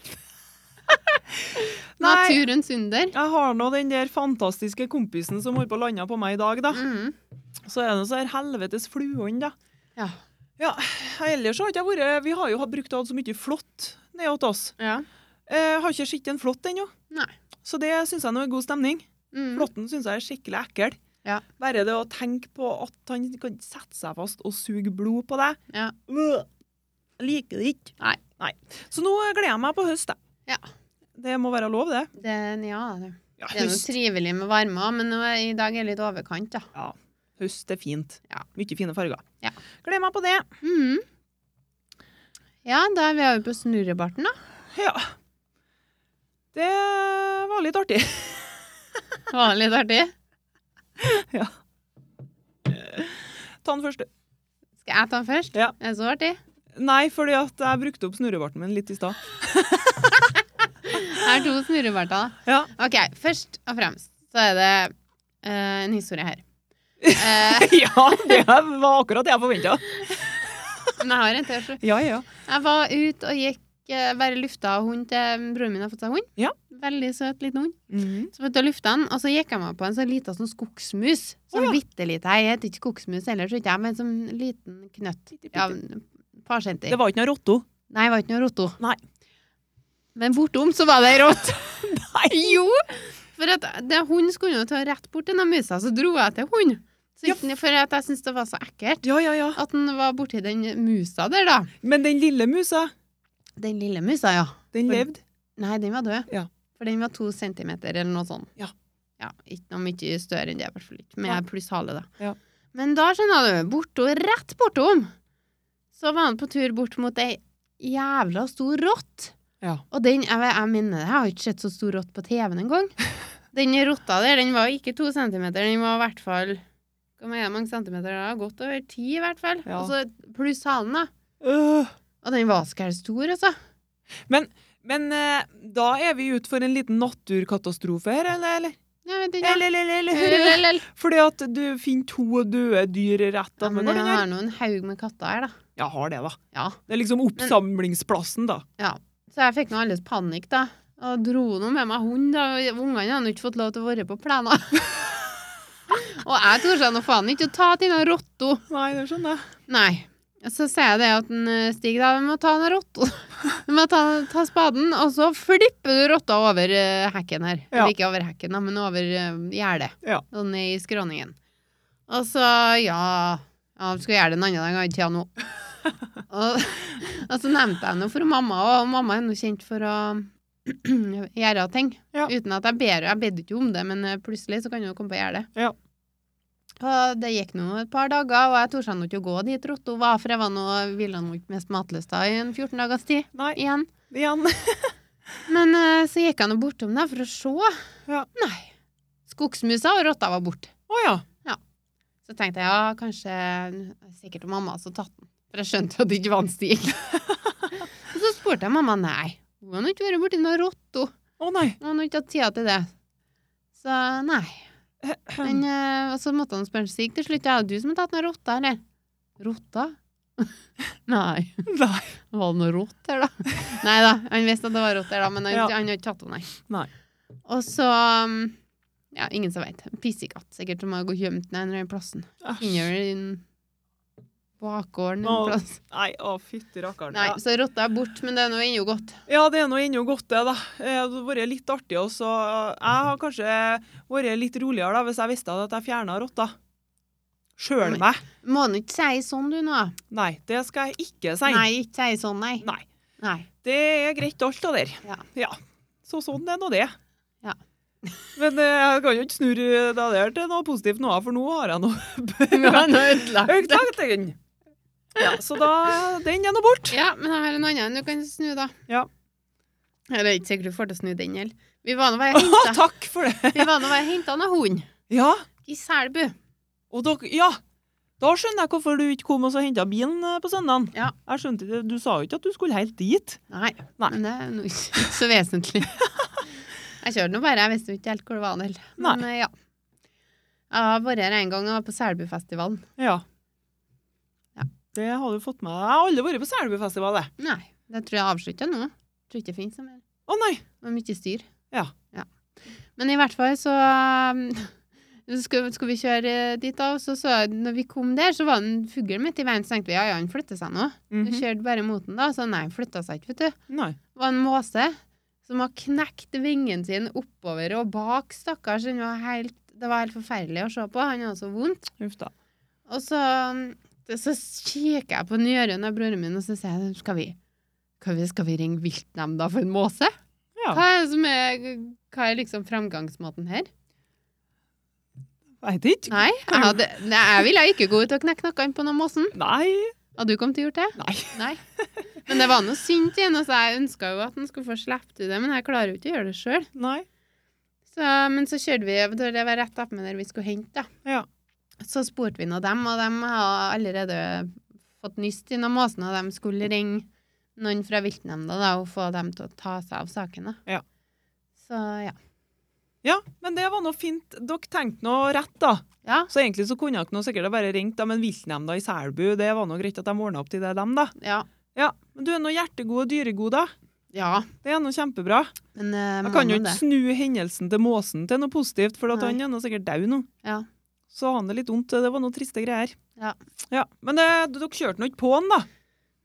Speaker 2: Nei.
Speaker 1: Naturens under.
Speaker 2: Jeg har nå den der fantastiske kompisen som holdt på å lande på meg i dag, da.
Speaker 1: Mhm.
Speaker 2: Så er det noe så her helvetes fluene, da.
Speaker 1: Ja.
Speaker 2: Ja, ellers har ikke jeg vært Vi har jo hatt brukt og hatt så mye flått nede hos oss.
Speaker 1: ja.
Speaker 2: Eh, har ikke sett en flått ennå.
Speaker 1: Nei.
Speaker 2: Så det syns jeg nå er god stemning.
Speaker 1: Mhm.
Speaker 2: Flåtten syns jeg er skikkelig ekkel.
Speaker 1: Ja.
Speaker 2: Bare det å tenke på at han kan sette seg fast og suge blod på deg.
Speaker 1: Ja.
Speaker 2: Øh, jeg Liker det ikke.
Speaker 1: Nei.
Speaker 2: Så nå gleder jeg meg på høst, jeg.
Speaker 1: Ja.
Speaker 2: Det må være lov, det.
Speaker 1: Den, ja, det
Speaker 2: Ja,
Speaker 1: det er noe
Speaker 2: høst.
Speaker 1: trivelig med varme òg, men nå er, i dag er det litt overkant, da.
Speaker 2: Ja, høst er fint.
Speaker 1: Ja.
Speaker 2: Mye fine farger.
Speaker 1: Ja.
Speaker 2: Gleder meg på det. Mm.
Speaker 1: Mhm. Ja, da er vi over på snurrebarten, da.
Speaker 2: Ja. Det var litt artig.
Speaker 1: Var det litt artig?
Speaker 2: Ta den første.
Speaker 1: Skal jeg ta den først?
Speaker 2: Ja.
Speaker 1: Er det så artig?
Speaker 2: Nei, fordi at jeg brukte opp snurrebarten min litt i stad.
Speaker 1: Jeg har to snurrebarter, da.
Speaker 2: Ja.
Speaker 1: OK, først og fremst så er det eh, en historie her. Eh,
Speaker 2: ja, det var akkurat det jeg forventa.
Speaker 1: men jeg har en til. så-
Speaker 2: Ja, ja.
Speaker 1: Jeg var ute og gikk eh, bare lufta hund til broren min har fått seg hund.
Speaker 2: Ja.
Speaker 1: Veldig søt liten hund.
Speaker 2: Mhm.
Speaker 1: Så vet du, lufta den, og så gikk jeg meg på en sånn liten sånn skogsmus. Sånn
Speaker 2: Å, ja.
Speaker 1: bitte lite. Jeg heter ikke skogsmus ellers, ikke jeg, men sånn liten knøtt.
Speaker 2: Bitte, bitte.
Speaker 1: Ja, par centi.
Speaker 2: Det var ikke noe rotto.
Speaker 1: Nei, det var ikke noe rotto.
Speaker 2: Nei.
Speaker 1: Men bortom så var det ei rått.
Speaker 2: Nei!
Speaker 1: Jo! For at det, hun skulle jo ta rett bort denne musa, så dro jeg til hun. Så
Speaker 2: Ja.
Speaker 1: gikk den- For at jeg syntes det var så ekkelt
Speaker 2: Ja, ja, ja.
Speaker 1: at den var borti den musa der, da.
Speaker 2: Men den lille musa,
Speaker 1: Den lille musa, ja.
Speaker 2: den levde.
Speaker 1: Nei, den var død.
Speaker 2: Ja.
Speaker 1: For den var to centimeter eller noe sånt.
Speaker 2: Ja.
Speaker 1: Ja, ikke noe mye større enn det, i hvert fall ikke.
Speaker 2: Nei.
Speaker 1: Med pluss hale, da.
Speaker 2: Ja.
Speaker 1: Men da, skjønner du, borto, rett bortom, så var han på tur bort mot ei jævla stor rått.
Speaker 2: Ja.
Speaker 1: Og den, jeg, vet- jeg minner det, jeg har ikke sett så stor rott på TV-en engang. Den rotta der, den var ikke to centimeter, den var i hvert fall Hvor mye- mange centimeter da? Godt over ti, i hvert fall.
Speaker 2: Ja.
Speaker 1: Og så pluss halen, da.
Speaker 2: Øh.
Speaker 1: Og den var skæl stor, altså.
Speaker 2: Men eh, da er vi ute for en liten naturkatastrofe her, eller? eller?
Speaker 1: Jeg vet ikke.
Speaker 2: eller, eller, eller,
Speaker 1: Eller, eller,
Speaker 2: eller.
Speaker 1: eller.
Speaker 2: Fordi at du finner to døde dyr rett
Speaker 1: Ja,
Speaker 2: av
Speaker 1: men jeg
Speaker 2: hverandre.
Speaker 1: har nå en haug med katter her, da.
Speaker 2: Ja, har det, da.
Speaker 1: Ja.
Speaker 2: Det er liksom oppsamlingsplassen, da.
Speaker 1: Så jeg fikk nå alles panikk, da. Og dro nå med meg hund, da. og Ungene hadde nå ikke fått lov til å være på plenen. og jeg torde seg nå faen ikke å ta til noen rotta.
Speaker 2: Nei, det skjønner jeg.
Speaker 1: Nei. Så sier jeg det at den, eh, Stig da, vi må ta den rotta. Vi må ta, ta spaden, og så flipper du rotta over eh, hekken her.
Speaker 2: Ja.
Speaker 1: Eller ikke over hekken, da, men over uh, gjerdet.
Speaker 2: Ja.
Speaker 1: Og ned i skråningen. Og så, ja Ja, vi skal gjøre det en annen gang, jeg har ikke tid nå. og, og så nevnte jeg noe for mamma, og mamma er nå kjent for å gjøre ting.
Speaker 2: Ja.
Speaker 1: Uten at jeg ber Jeg bedde ikke om det, men eh, plutselig så kan hun komme på å gjøre det.
Speaker 2: Ja.
Speaker 1: Og det gikk nå et par dager, og jeg torde seg nå ikke å gå dit Rotto var, for jeg var nå ville nå ikke mest matlyst da i en 14 dagers tid
Speaker 2: Nei,
Speaker 1: igjen.
Speaker 2: igjen.
Speaker 1: Men eh, så gikk jeg nå bortom der for å se.
Speaker 2: Ja.
Speaker 1: Nei. Skogsmusa og rotta var borte.
Speaker 2: Å ja.
Speaker 1: Så tenkte jeg ja, kanskje sikkert mamma som tatt den. For jeg skjønte jo at det ikke var en stig. og så spurte jeg mamma nei. Hun har nå ikke vært borti noe rotto.
Speaker 2: Å nei.
Speaker 1: Hun har nå ikke hatt tida til det. Så nei. Men, eh, og så måtte han spørre Stig til slutt. Ja, du som har tatt den rotta, eller? Rotta? nei.
Speaker 2: Nei.
Speaker 1: Var det noe rått her, da? Nei da, han visste at det var rått her, da, men han,
Speaker 2: Ja.
Speaker 1: han har ikke tatt henne,
Speaker 2: Nei.
Speaker 1: Og så um, Ja, ingen som veit. Pissekatt, sikkert, som har gått gjemt ned en eller annen plassen.
Speaker 2: Æsj.
Speaker 1: Innover i den bakgården en
Speaker 2: Nå,
Speaker 1: plass.
Speaker 2: Nei, å fytti rakkeren.
Speaker 1: Nei,
Speaker 2: Ja.
Speaker 1: så rotta er borte, men det er nå ennå godt.
Speaker 2: Ja, det er nå ennå godt, det, da. Eh, Det hadde vært litt artig også. Jeg har kanskje vært litt roligere da, hvis jeg visste at jeg fjerna rotta. Sjøl
Speaker 1: Men-
Speaker 2: meg.
Speaker 1: Må han ikke si sånn, du, nå?
Speaker 2: Nei, det skal jeg ikke si.
Speaker 1: Nei, ikke si sånn, nei.
Speaker 2: Nei.
Speaker 1: Nei.
Speaker 2: Det er greit, alt det der.
Speaker 1: Ja.
Speaker 2: Så sånn er nå det.
Speaker 1: Ja.
Speaker 2: Men eh, jeg kan jo ikke snurre det der til noe positivt nå, for nå har jeg
Speaker 1: Nå
Speaker 2: noe
Speaker 1: er han ødelagt.
Speaker 2: Øyektakten! Ja, så da Den er nå bort.
Speaker 1: Ja, men jeg har en annen du kan snu, da.
Speaker 2: Ja.
Speaker 1: Eller ikke sikkert du får til å snu den heller. Vi var nå bare
Speaker 2: Å,
Speaker 1: hentet-
Speaker 2: takk for det.
Speaker 1: vi var nå bare hentet en hund
Speaker 2: Ja,
Speaker 1: i Selbu.
Speaker 2: og dere Ja! Da skjønner jeg hvorfor du ikke kom og så henta bilen eh, på søndagen.
Speaker 1: Ja.
Speaker 2: Jeg skjønte det. Du sa jo ikke at du skulle helt dit.
Speaker 1: Nei,
Speaker 2: Nei.
Speaker 1: men det er noe ikke så vesentlig. Jeg kjørte nå bare, jeg visste jo ikke helt hvor det var. Del. Men eh, ja. Jeg har vært her en gang, jeg var på Selbufestivalen.
Speaker 2: Ja.
Speaker 1: Ja.
Speaker 2: Det har du fått med deg. Jeg har aldri vært på Selbufestival, jeg.
Speaker 1: Nei, det tror jeg avslutta nå. Tror ikke det finnes noe mer.
Speaker 2: Å nei!
Speaker 1: Det var mye styr.
Speaker 2: Ja.
Speaker 1: Men i hvert fall så um, så skulle, skulle vi kjøre eh, dit, da. Og så, så jeg- når vi kom der, så var det en fugl midt i veien. Så tenkte vi ja, ja, han flytter seg nå. Vi
Speaker 2: Mhm.
Speaker 1: kjørte bare mot den, da. Så nei, han flytta seg ikke, vet du.
Speaker 2: Nei.
Speaker 1: var en måse som har knekt vingen sin oppover og bak, stakkars. Den var helt, det var helt forferdelig å se på. Han hadde så vondt.
Speaker 2: Uff da.
Speaker 1: Og så, um, så kikker jeg på Njørund og broren min, og så sier jeg skal vi, skal vi, skal vi ringe viltnemnda for en måse?
Speaker 2: Ja.
Speaker 1: Hva er, det som er, hva er liksom framgangsmåten her?
Speaker 2: Veit ikke.
Speaker 1: Nei, jeg, hadde, nei, jeg ville ikke gå ut og knekke nakken på noen måsen.
Speaker 2: Nei.
Speaker 1: Hadde du kommet til å gjort det?
Speaker 2: Nei.
Speaker 1: Nei. Men det var noe synd til henne, så jeg ønska jo at han skulle få slippe til det, men jeg klarer jo ikke å gjøre det sjøl.
Speaker 2: Nei.
Speaker 1: Så, men så kjørte vi, da det var rett opp med der vi skulle hente, da.
Speaker 2: Ja.
Speaker 1: Så spurte vi nå dem, og de har allerede fått nyst i noen måsen, og de skulle ringe noen fra viltnemnda da, og få dem til å ta seg av sakene.
Speaker 2: Ja.
Speaker 1: Så ja.
Speaker 2: Ja, men det var nå fint. Dere tenkte nå rett, da.
Speaker 1: Ja,
Speaker 2: Så egentlig så kunne dere nå sikkert bare ringt dem, men viltnemnda i Selbu, det var nå greit at de ordna opp til det, dem, da.
Speaker 1: ja,
Speaker 2: Ja, men du er nå hjertegod og dyregod, da.
Speaker 1: ja.
Speaker 2: Det er nå kjempebra.
Speaker 1: Men eh,
Speaker 2: Jeg kan jo
Speaker 1: må nå
Speaker 2: ikke
Speaker 1: det.
Speaker 2: snu hendelsen til måsen til noe positivt, for at
Speaker 1: Nei.
Speaker 2: han er nå sikkert død nå.
Speaker 1: Ja.
Speaker 2: Så han er litt vondt. Det var noen triste greier.
Speaker 1: Ja.
Speaker 2: ja. Men eh, dere kjørte nå ikke på han, da?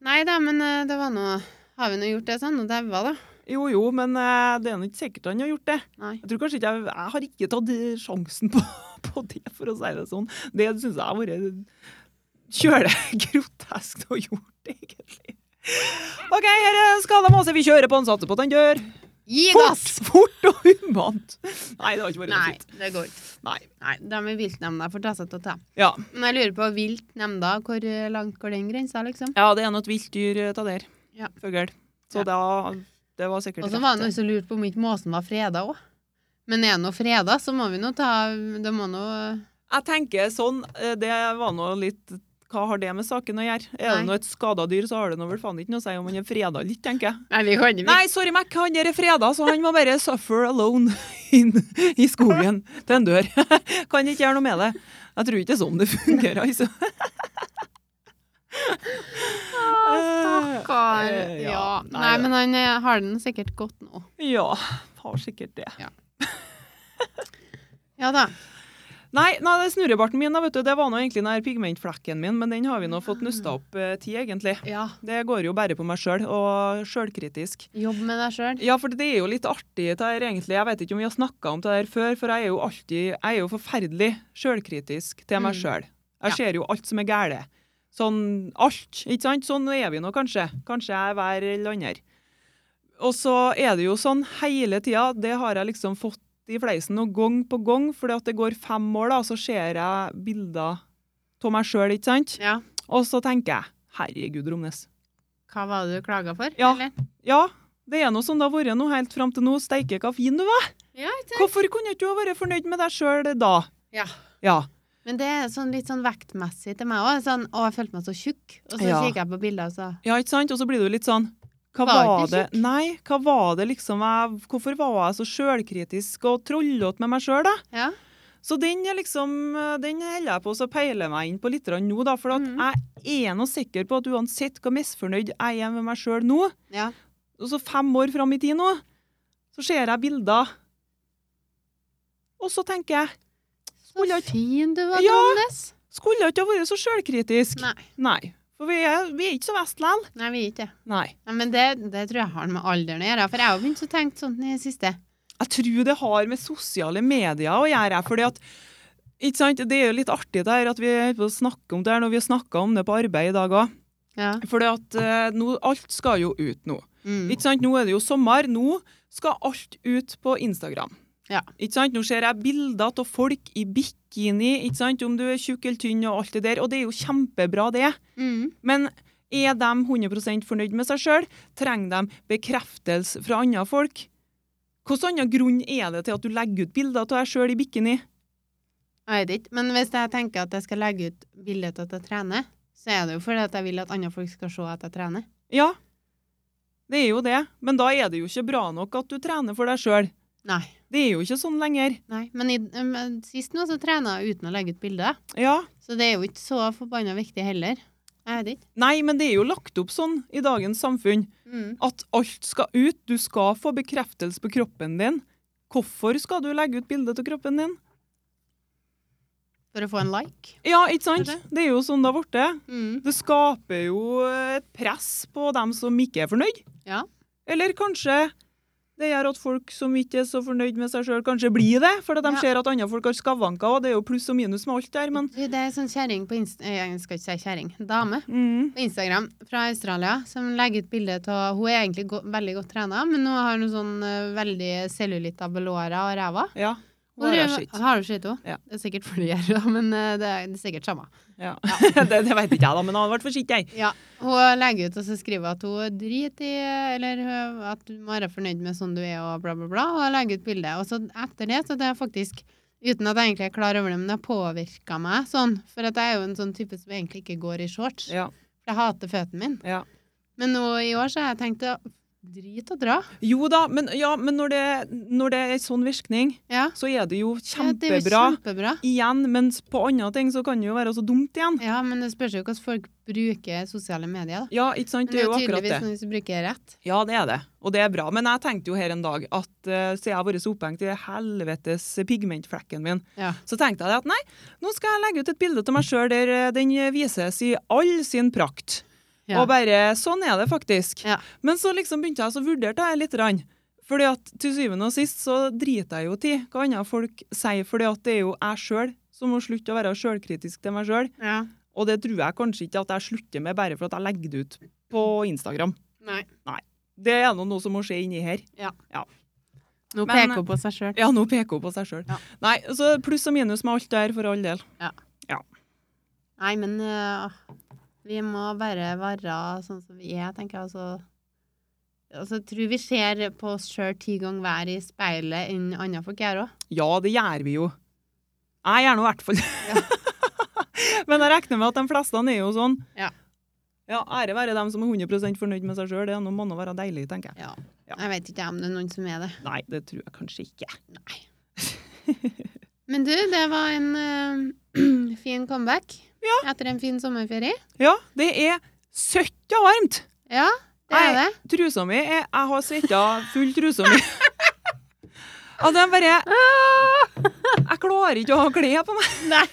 Speaker 1: Nei da, men eh, det var noe Har vi nå gjort det sånn? Og daua, da?
Speaker 2: Jo jo, men eh, det er nå ikke sikkert han har gjort det.
Speaker 1: Nei.
Speaker 2: Jeg tror kanskje ikke jeg, jeg har ikke tatt eh, sjansen på, på det, for å si det sånn. Det syns jeg har vært kjølegrotesk å gjort, egentlig. OK, her er skada måse. Vi kjører på han, satser på at han dør.
Speaker 1: Gi
Speaker 2: Fort,
Speaker 1: gass!
Speaker 2: fort og humant. Nei, det har ikke vært noe
Speaker 1: Nei,
Speaker 2: fint.
Speaker 1: det går ikke.
Speaker 2: Nei.
Speaker 1: Nei, De i viltnemnda får ta seg til å ta.
Speaker 2: Ja.
Speaker 1: Men jeg lurer på viltnemnda, hvor eh, langt går den grensa, liksom?
Speaker 2: ja, det er nå et vilt dyr eh, ta der.
Speaker 1: Ja.
Speaker 2: Fugl. Så
Speaker 1: Ja.
Speaker 2: da det Det var sikkert
Speaker 1: Og så
Speaker 2: rett,
Speaker 1: var det
Speaker 2: det.
Speaker 1: noen som lurte på om ikke måsen var freda òg. Men er den nå freda, så må vi nå ta Det må nå
Speaker 2: Jeg tenker sånn, eh, det var nå litt Hva har det med saken å gjøre? Er det
Speaker 1: Nei.
Speaker 2: nå et skada dyr, så har det nå vel faen ikke noe å si om han er freda eller ikke, tenker jeg.
Speaker 1: Nei, vi kan ikke
Speaker 2: Nei, sorry, Mac, han der er freda, så han må bare suffer alone inn i skogen til en dør. Kan ikke gjøre noe med det. Jeg tror ikke det er sånn det fungerer, altså.
Speaker 1: Stakkar.
Speaker 2: Eh, ja.
Speaker 1: Ja.
Speaker 2: Nei,
Speaker 1: Nei,
Speaker 2: det-
Speaker 1: men han eh, har den sikkert godt nå.
Speaker 2: Ja, har sikkert det.
Speaker 1: Ja da.
Speaker 2: Nei, nei det er snurrebarten min, da, vet du, det var nå egentlig den her pigmentflekken min, men den har vi nå fått nøsta opp eh, tid, egentlig.
Speaker 1: Ja.
Speaker 2: Det går jo bare på meg sjøl, og sjølkritisk.
Speaker 1: Jobb med deg sjøl.
Speaker 2: Ja, for det er jo litt artig det her, egentlig. Jeg vet ikke om vi har snakka om det her før, for jeg er jo alltid Jeg er jo forferdelig sjølkritisk til meg
Speaker 1: Mm.
Speaker 2: sjøl.
Speaker 1: Ja.
Speaker 2: Jeg ser jo alt som er gære. Sånn alt, ikke sant? Sånn er vi nå kanskje. Kanskje jeg er hver eller andre. Og så er det jo sånn hele tida, det har jeg liksom fått i fleisen nå gang på gang, fordi at det går fem år, da, så ser jeg bilder av meg sjøl, ikke sant?
Speaker 1: Ja.
Speaker 2: Og så tenker jeg Herregud, Romnes.
Speaker 1: Hva var det du klaga for?
Speaker 2: Ja.
Speaker 1: Eller?
Speaker 2: Ja, det er noe sånn det har vært nå helt fram til nå. Steike, hva fin du var!
Speaker 1: Ja, jeg tenker-
Speaker 2: Hvorfor kunne ikke du ha vært fornøyd med deg sjøl da?
Speaker 1: Ja.
Speaker 2: Ja.
Speaker 1: Men det er sånn litt sånn vektmessig til meg òg. Sånn, å, jeg følte meg så tjukk. Og så
Speaker 2: Ja.
Speaker 1: kikker jeg på bilder, og så
Speaker 2: ja, ikke sant? Og så blir du litt sånn hva var,
Speaker 1: Var ikke
Speaker 2: det? Nei, hva var det liksom jeg, Hvorfor var jeg så sjølkritisk og trollete med meg sjøl, da?
Speaker 1: Ja.
Speaker 2: Så den er liksom, den holder jeg på å peile meg inn på litt grann nå, da. For at
Speaker 1: Mhm.
Speaker 2: jeg er nå sikker på at uansett hvor misfornøyd jeg er med meg sjøl nå,
Speaker 1: ja.
Speaker 2: og så fem år fram i tid nå, så ser jeg bilder, og så tenker jeg
Speaker 1: Så
Speaker 2: Skulle ikke-
Speaker 1: fin du var,
Speaker 2: Ja.
Speaker 1: Johannes.
Speaker 2: Skulle ikke ha vært så sjølkritisk.
Speaker 1: Nei.
Speaker 2: Nei. For vi er, vi er ikke så vest likevel.
Speaker 1: Nei, vi gjør ikke det.
Speaker 2: Nei.
Speaker 1: Nei, men det, det tror jeg har med alderen å gjøre. For jeg har jo begynt å tenke sånt i det siste.
Speaker 2: Jeg tror det har med sosiale medier å gjøre. jeg, fordi at, ikke sant? Det er jo litt artig det her at vi holder på å snakke om det her når vi har snakka om det på arbeid i dag òg.
Speaker 1: Ja.
Speaker 2: For eh, nå- alt skal jo ut nå.
Speaker 1: Mm.
Speaker 2: Ikke sant? Nå er det jo sommer. Nå skal alt ut på Instagram.
Speaker 1: Ja.
Speaker 2: Ikke sant? Nå ser jeg bilder av folk i bikini, ikke sant? om du er tjukk eller tynn og alt det der. Og det er jo kjempebra, det.
Speaker 1: Mm.
Speaker 2: Men er de 100 fornøyd med seg sjøl? Trenger de bekreftelse fra andre folk? Hvilken annen grunn er det til at du legger ut bilder av deg sjøl i bikini?
Speaker 1: Jeg vet ikke. Men hvis jeg tenker at jeg skal legge ut bilde av at jeg trener, så er det jo fordi at jeg vil at andre folk skal se at jeg trener.
Speaker 2: Ja, det er jo det, men da er det jo ikke bra nok at du trener for deg sjøl.
Speaker 1: Nei.
Speaker 2: Det er jo ikke sånn lenger.
Speaker 1: Nei. Men i, men sist nå så trena jeg uten å legge ut bilde.
Speaker 2: Ja.
Speaker 1: Så det er jo ikke så forbanna viktig heller. Jeg vet ikke.
Speaker 2: Nei, men det er jo lagt opp sånn i dagens samfunn
Speaker 1: Mm.
Speaker 2: at alt skal ut. Du skal få bekreftelse på kroppen din. Hvorfor skal du legge ut bilde av kroppen din?
Speaker 1: For å få en like.
Speaker 2: Ja, ikke sant?
Speaker 1: Er
Speaker 2: Det er jo sånn det har blitt.
Speaker 1: Mm.
Speaker 2: Det skaper jo et press på dem som ikke er fornøyd.
Speaker 1: Ja.
Speaker 2: Eller kanskje det gjør at folk som ikke er så fornøyd med seg sjøl, kanskje blir det. For at de
Speaker 1: Ja.
Speaker 2: ser at andre folk har skavanker, og det er jo pluss og minus med alt der, men
Speaker 1: Du, Det er en sånn kjerring på Inst... eh, Jeg skal ikke si kjerring. Dame
Speaker 2: mm,
Speaker 1: på Instagram fra Australia som legger ut bilde av Hun er egentlig go veldig godt trena, men hun har noe sånn eh, veldig cellulitt av belåra og ræva.
Speaker 2: Ja.
Speaker 1: Hun
Speaker 2: Bare
Speaker 1: driver-
Speaker 2: skitt.
Speaker 1: Har du skitt òg?
Speaker 2: Ja.
Speaker 1: Det er sikkert fordi jeg gjør det, men eh, det er, det er sikkert samme.
Speaker 2: Ja. det, det vet ikke jeg, da, men jeg hadde vært forsiktig, jeg.
Speaker 1: Ja, Hun legger ut og så skriver hun at hun driter i Eller eh, at du må være fornøyd med sånn du er, og bla, bla, bla. Og jeg legger ut bilde. Og så etter det, så det er faktisk Uten at jeg egentlig er klar over det, men det har påvirka meg sånn. For at jeg er jo en sånn type som egentlig ikke går i shorts.
Speaker 2: Ja.
Speaker 1: For jeg hater føttene mine.
Speaker 2: Ja.
Speaker 1: Men nå i år så har jeg tenkt å drit og dra.
Speaker 2: Jo da, men, ja, men når, det, når det er sånn virkning,
Speaker 1: Ja.
Speaker 2: så er det jo
Speaker 1: Ja, det er jo
Speaker 2: kjempebra
Speaker 1: kjempebra.
Speaker 2: igjen, mens på andre ting så kan det jo være så dumt igjen.
Speaker 1: Ja, men det spørs jo hvordan folk bruker sosiale medier, da.
Speaker 2: Ja, ikke sant?
Speaker 1: Men
Speaker 2: Det er jo akkurat det.
Speaker 1: tydeligvis noen som bruker det rett.
Speaker 2: Ja, det er det, og det er bra. Men jeg tenkte jo her en dag at eh, siden jeg har vært så opphengt i helvetes pigmentflekken min,
Speaker 1: Ja.
Speaker 2: så tenkte jeg det at nei, nå skal jeg legge ut et bilde av meg sjøl der eh, den vises i all sin prakt.
Speaker 1: Ja.
Speaker 2: Og bare sånn er det faktisk.
Speaker 1: Ja.
Speaker 2: Men så liksom begynte jeg så vurderte jeg litt. Rann. Fordi at til syvende og sist så driter jeg jo til hva andre folk sier, fordi at det er jo jeg sjøl som må slutte å være sjølkritisk til meg sjøl.
Speaker 1: ja.
Speaker 2: Og det tror jeg kanskje ikke at jeg slutter med bare for at jeg legger det ut på Instagram.
Speaker 1: Nei.
Speaker 2: Det er nå noe som må skje inni her.
Speaker 1: Nå
Speaker 2: Men-
Speaker 1: peker hun på seg sjøl.
Speaker 2: Ja, nå peker hun på seg sjøl.
Speaker 1: Ja.
Speaker 2: Nei, så pluss og minus med alt det her, for all del.
Speaker 1: Nei, men eh, øh, vi må bare være sånn som vi er, tenker jeg. Altså altså, jeg tror vi ser på oss sjøl ti ganger hver i speilet enn andre folk gjør òg.
Speaker 2: Ja, det gjør vi jo. Jeg gjør nå i hvert fall. Men jeg regner med at de fleste er jo sånn.
Speaker 1: Ja.
Speaker 2: Ja, Ære være dem som er 100 fornøyd med seg sjøl. Det er noe må nå være deilig, tenker jeg.
Speaker 1: Ja.
Speaker 2: Ja.
Speaker 1: Jeg vet ikke om det er noen som er det.
Speaker 2: Nei, det tror jeg kanskje ikke.
Speaker 1: Nei. Men du, det var en eh, fin comeback etter en fin sommerferie.
Speaker 2: Ja, det er søtt og varmt!
Speaker 1: Ja, det er det.
Speaker 2: Trusa mi er Jeg har svetta full trusa mi. Og den bare Jeg klarer ikke å ha klær på meg.
Speaker 1: Nei.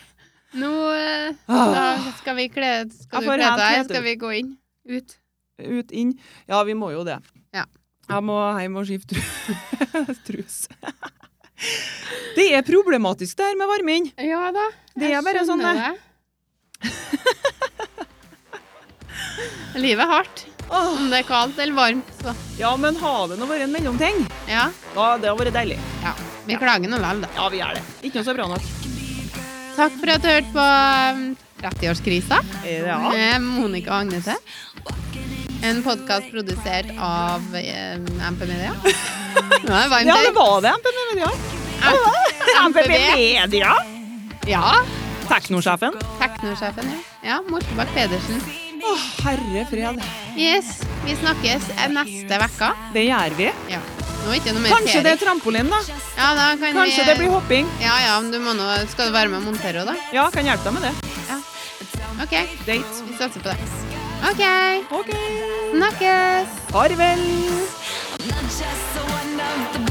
Speaker 1: Nå eh,
Speaker 2: Ah.
Speaker 1: da skal vi kle Skal
Speaker 2: Jeg
Speaker 1: du
Speaker 2: får
Speaker 1: kle deg,
Speaker 2: helt
Speaker 1: eller
Speaker 2: kledd
Speaker 1: skal vi gå inn? Ut.
Speaker 2: Ut, inn. Ja, vi må jo det.
Speaker 1: Ja.
Speaker 2: Jeg må hjem og skifte tru- trus. Det er problematisk det her med varmen.
Speaker 1: Ja da.
Speaker 2: Det er bare sånn,
Speaker 1: det. Livet er hardt.
Speaker 2: Åh,
Speaker 1: Om det er kaldt eller varmt, så
Speaker 2: Ja, men har det nå vært en mellomting?
Speaker 1: ja.
Speaker 2: Ja, det har vært deilig.
Speaker 1: ja. Vi klager nå vel, da.
Speaker 2: Ja, vi gjør det. Ikke noe så bra nok.
Speaker 1: Takk for at du hørte på um, 30-årskrisa
Speaker 2: Ja.
Speaker 1: med Monica og Agnete. En podkast produsert av eh, MP Media. Nå er det varmt
Speaker 2: Ja, det
Speaker 1: her.
Speaker 2: var det. MPB Media. MPB Media.
Speaker 1: Ja.
Speaker 2: Teknosjefen.
Speaker 1: Teknosjefen, ja. ja Mortebakk Pedersen.
Speaker 2: Å, herre fred.
Speaker 1: Yes, vi snakkes eh, neste uke.
Speaker 2: Det gjør vi.
Speaker 1: Ja. Nå er ikke noe mer
Speaker 2: Kanskje
Speaker 1: ferie.
Speaker 2: det er trampolin, da.
Speaker 1: Ja, da kan
Speaker 2: Kanskje
Speaker 1: vi,
Speaker 2: det blir hopping.
Speaker 1: Ja, ja, men du må nå Skal du være med og montere òg, da?
Speaker 2: Ja, kan hjelpe deg med det.
Speaker 1: Ja. OK,
Speaker 2: Date.
Speaker 1: vi satser på det. OK,
Speaker 2: OK.
Speaker 1: snakkes!
Speaker 2: Farvel.
Speaker 3: I'm not just a one of the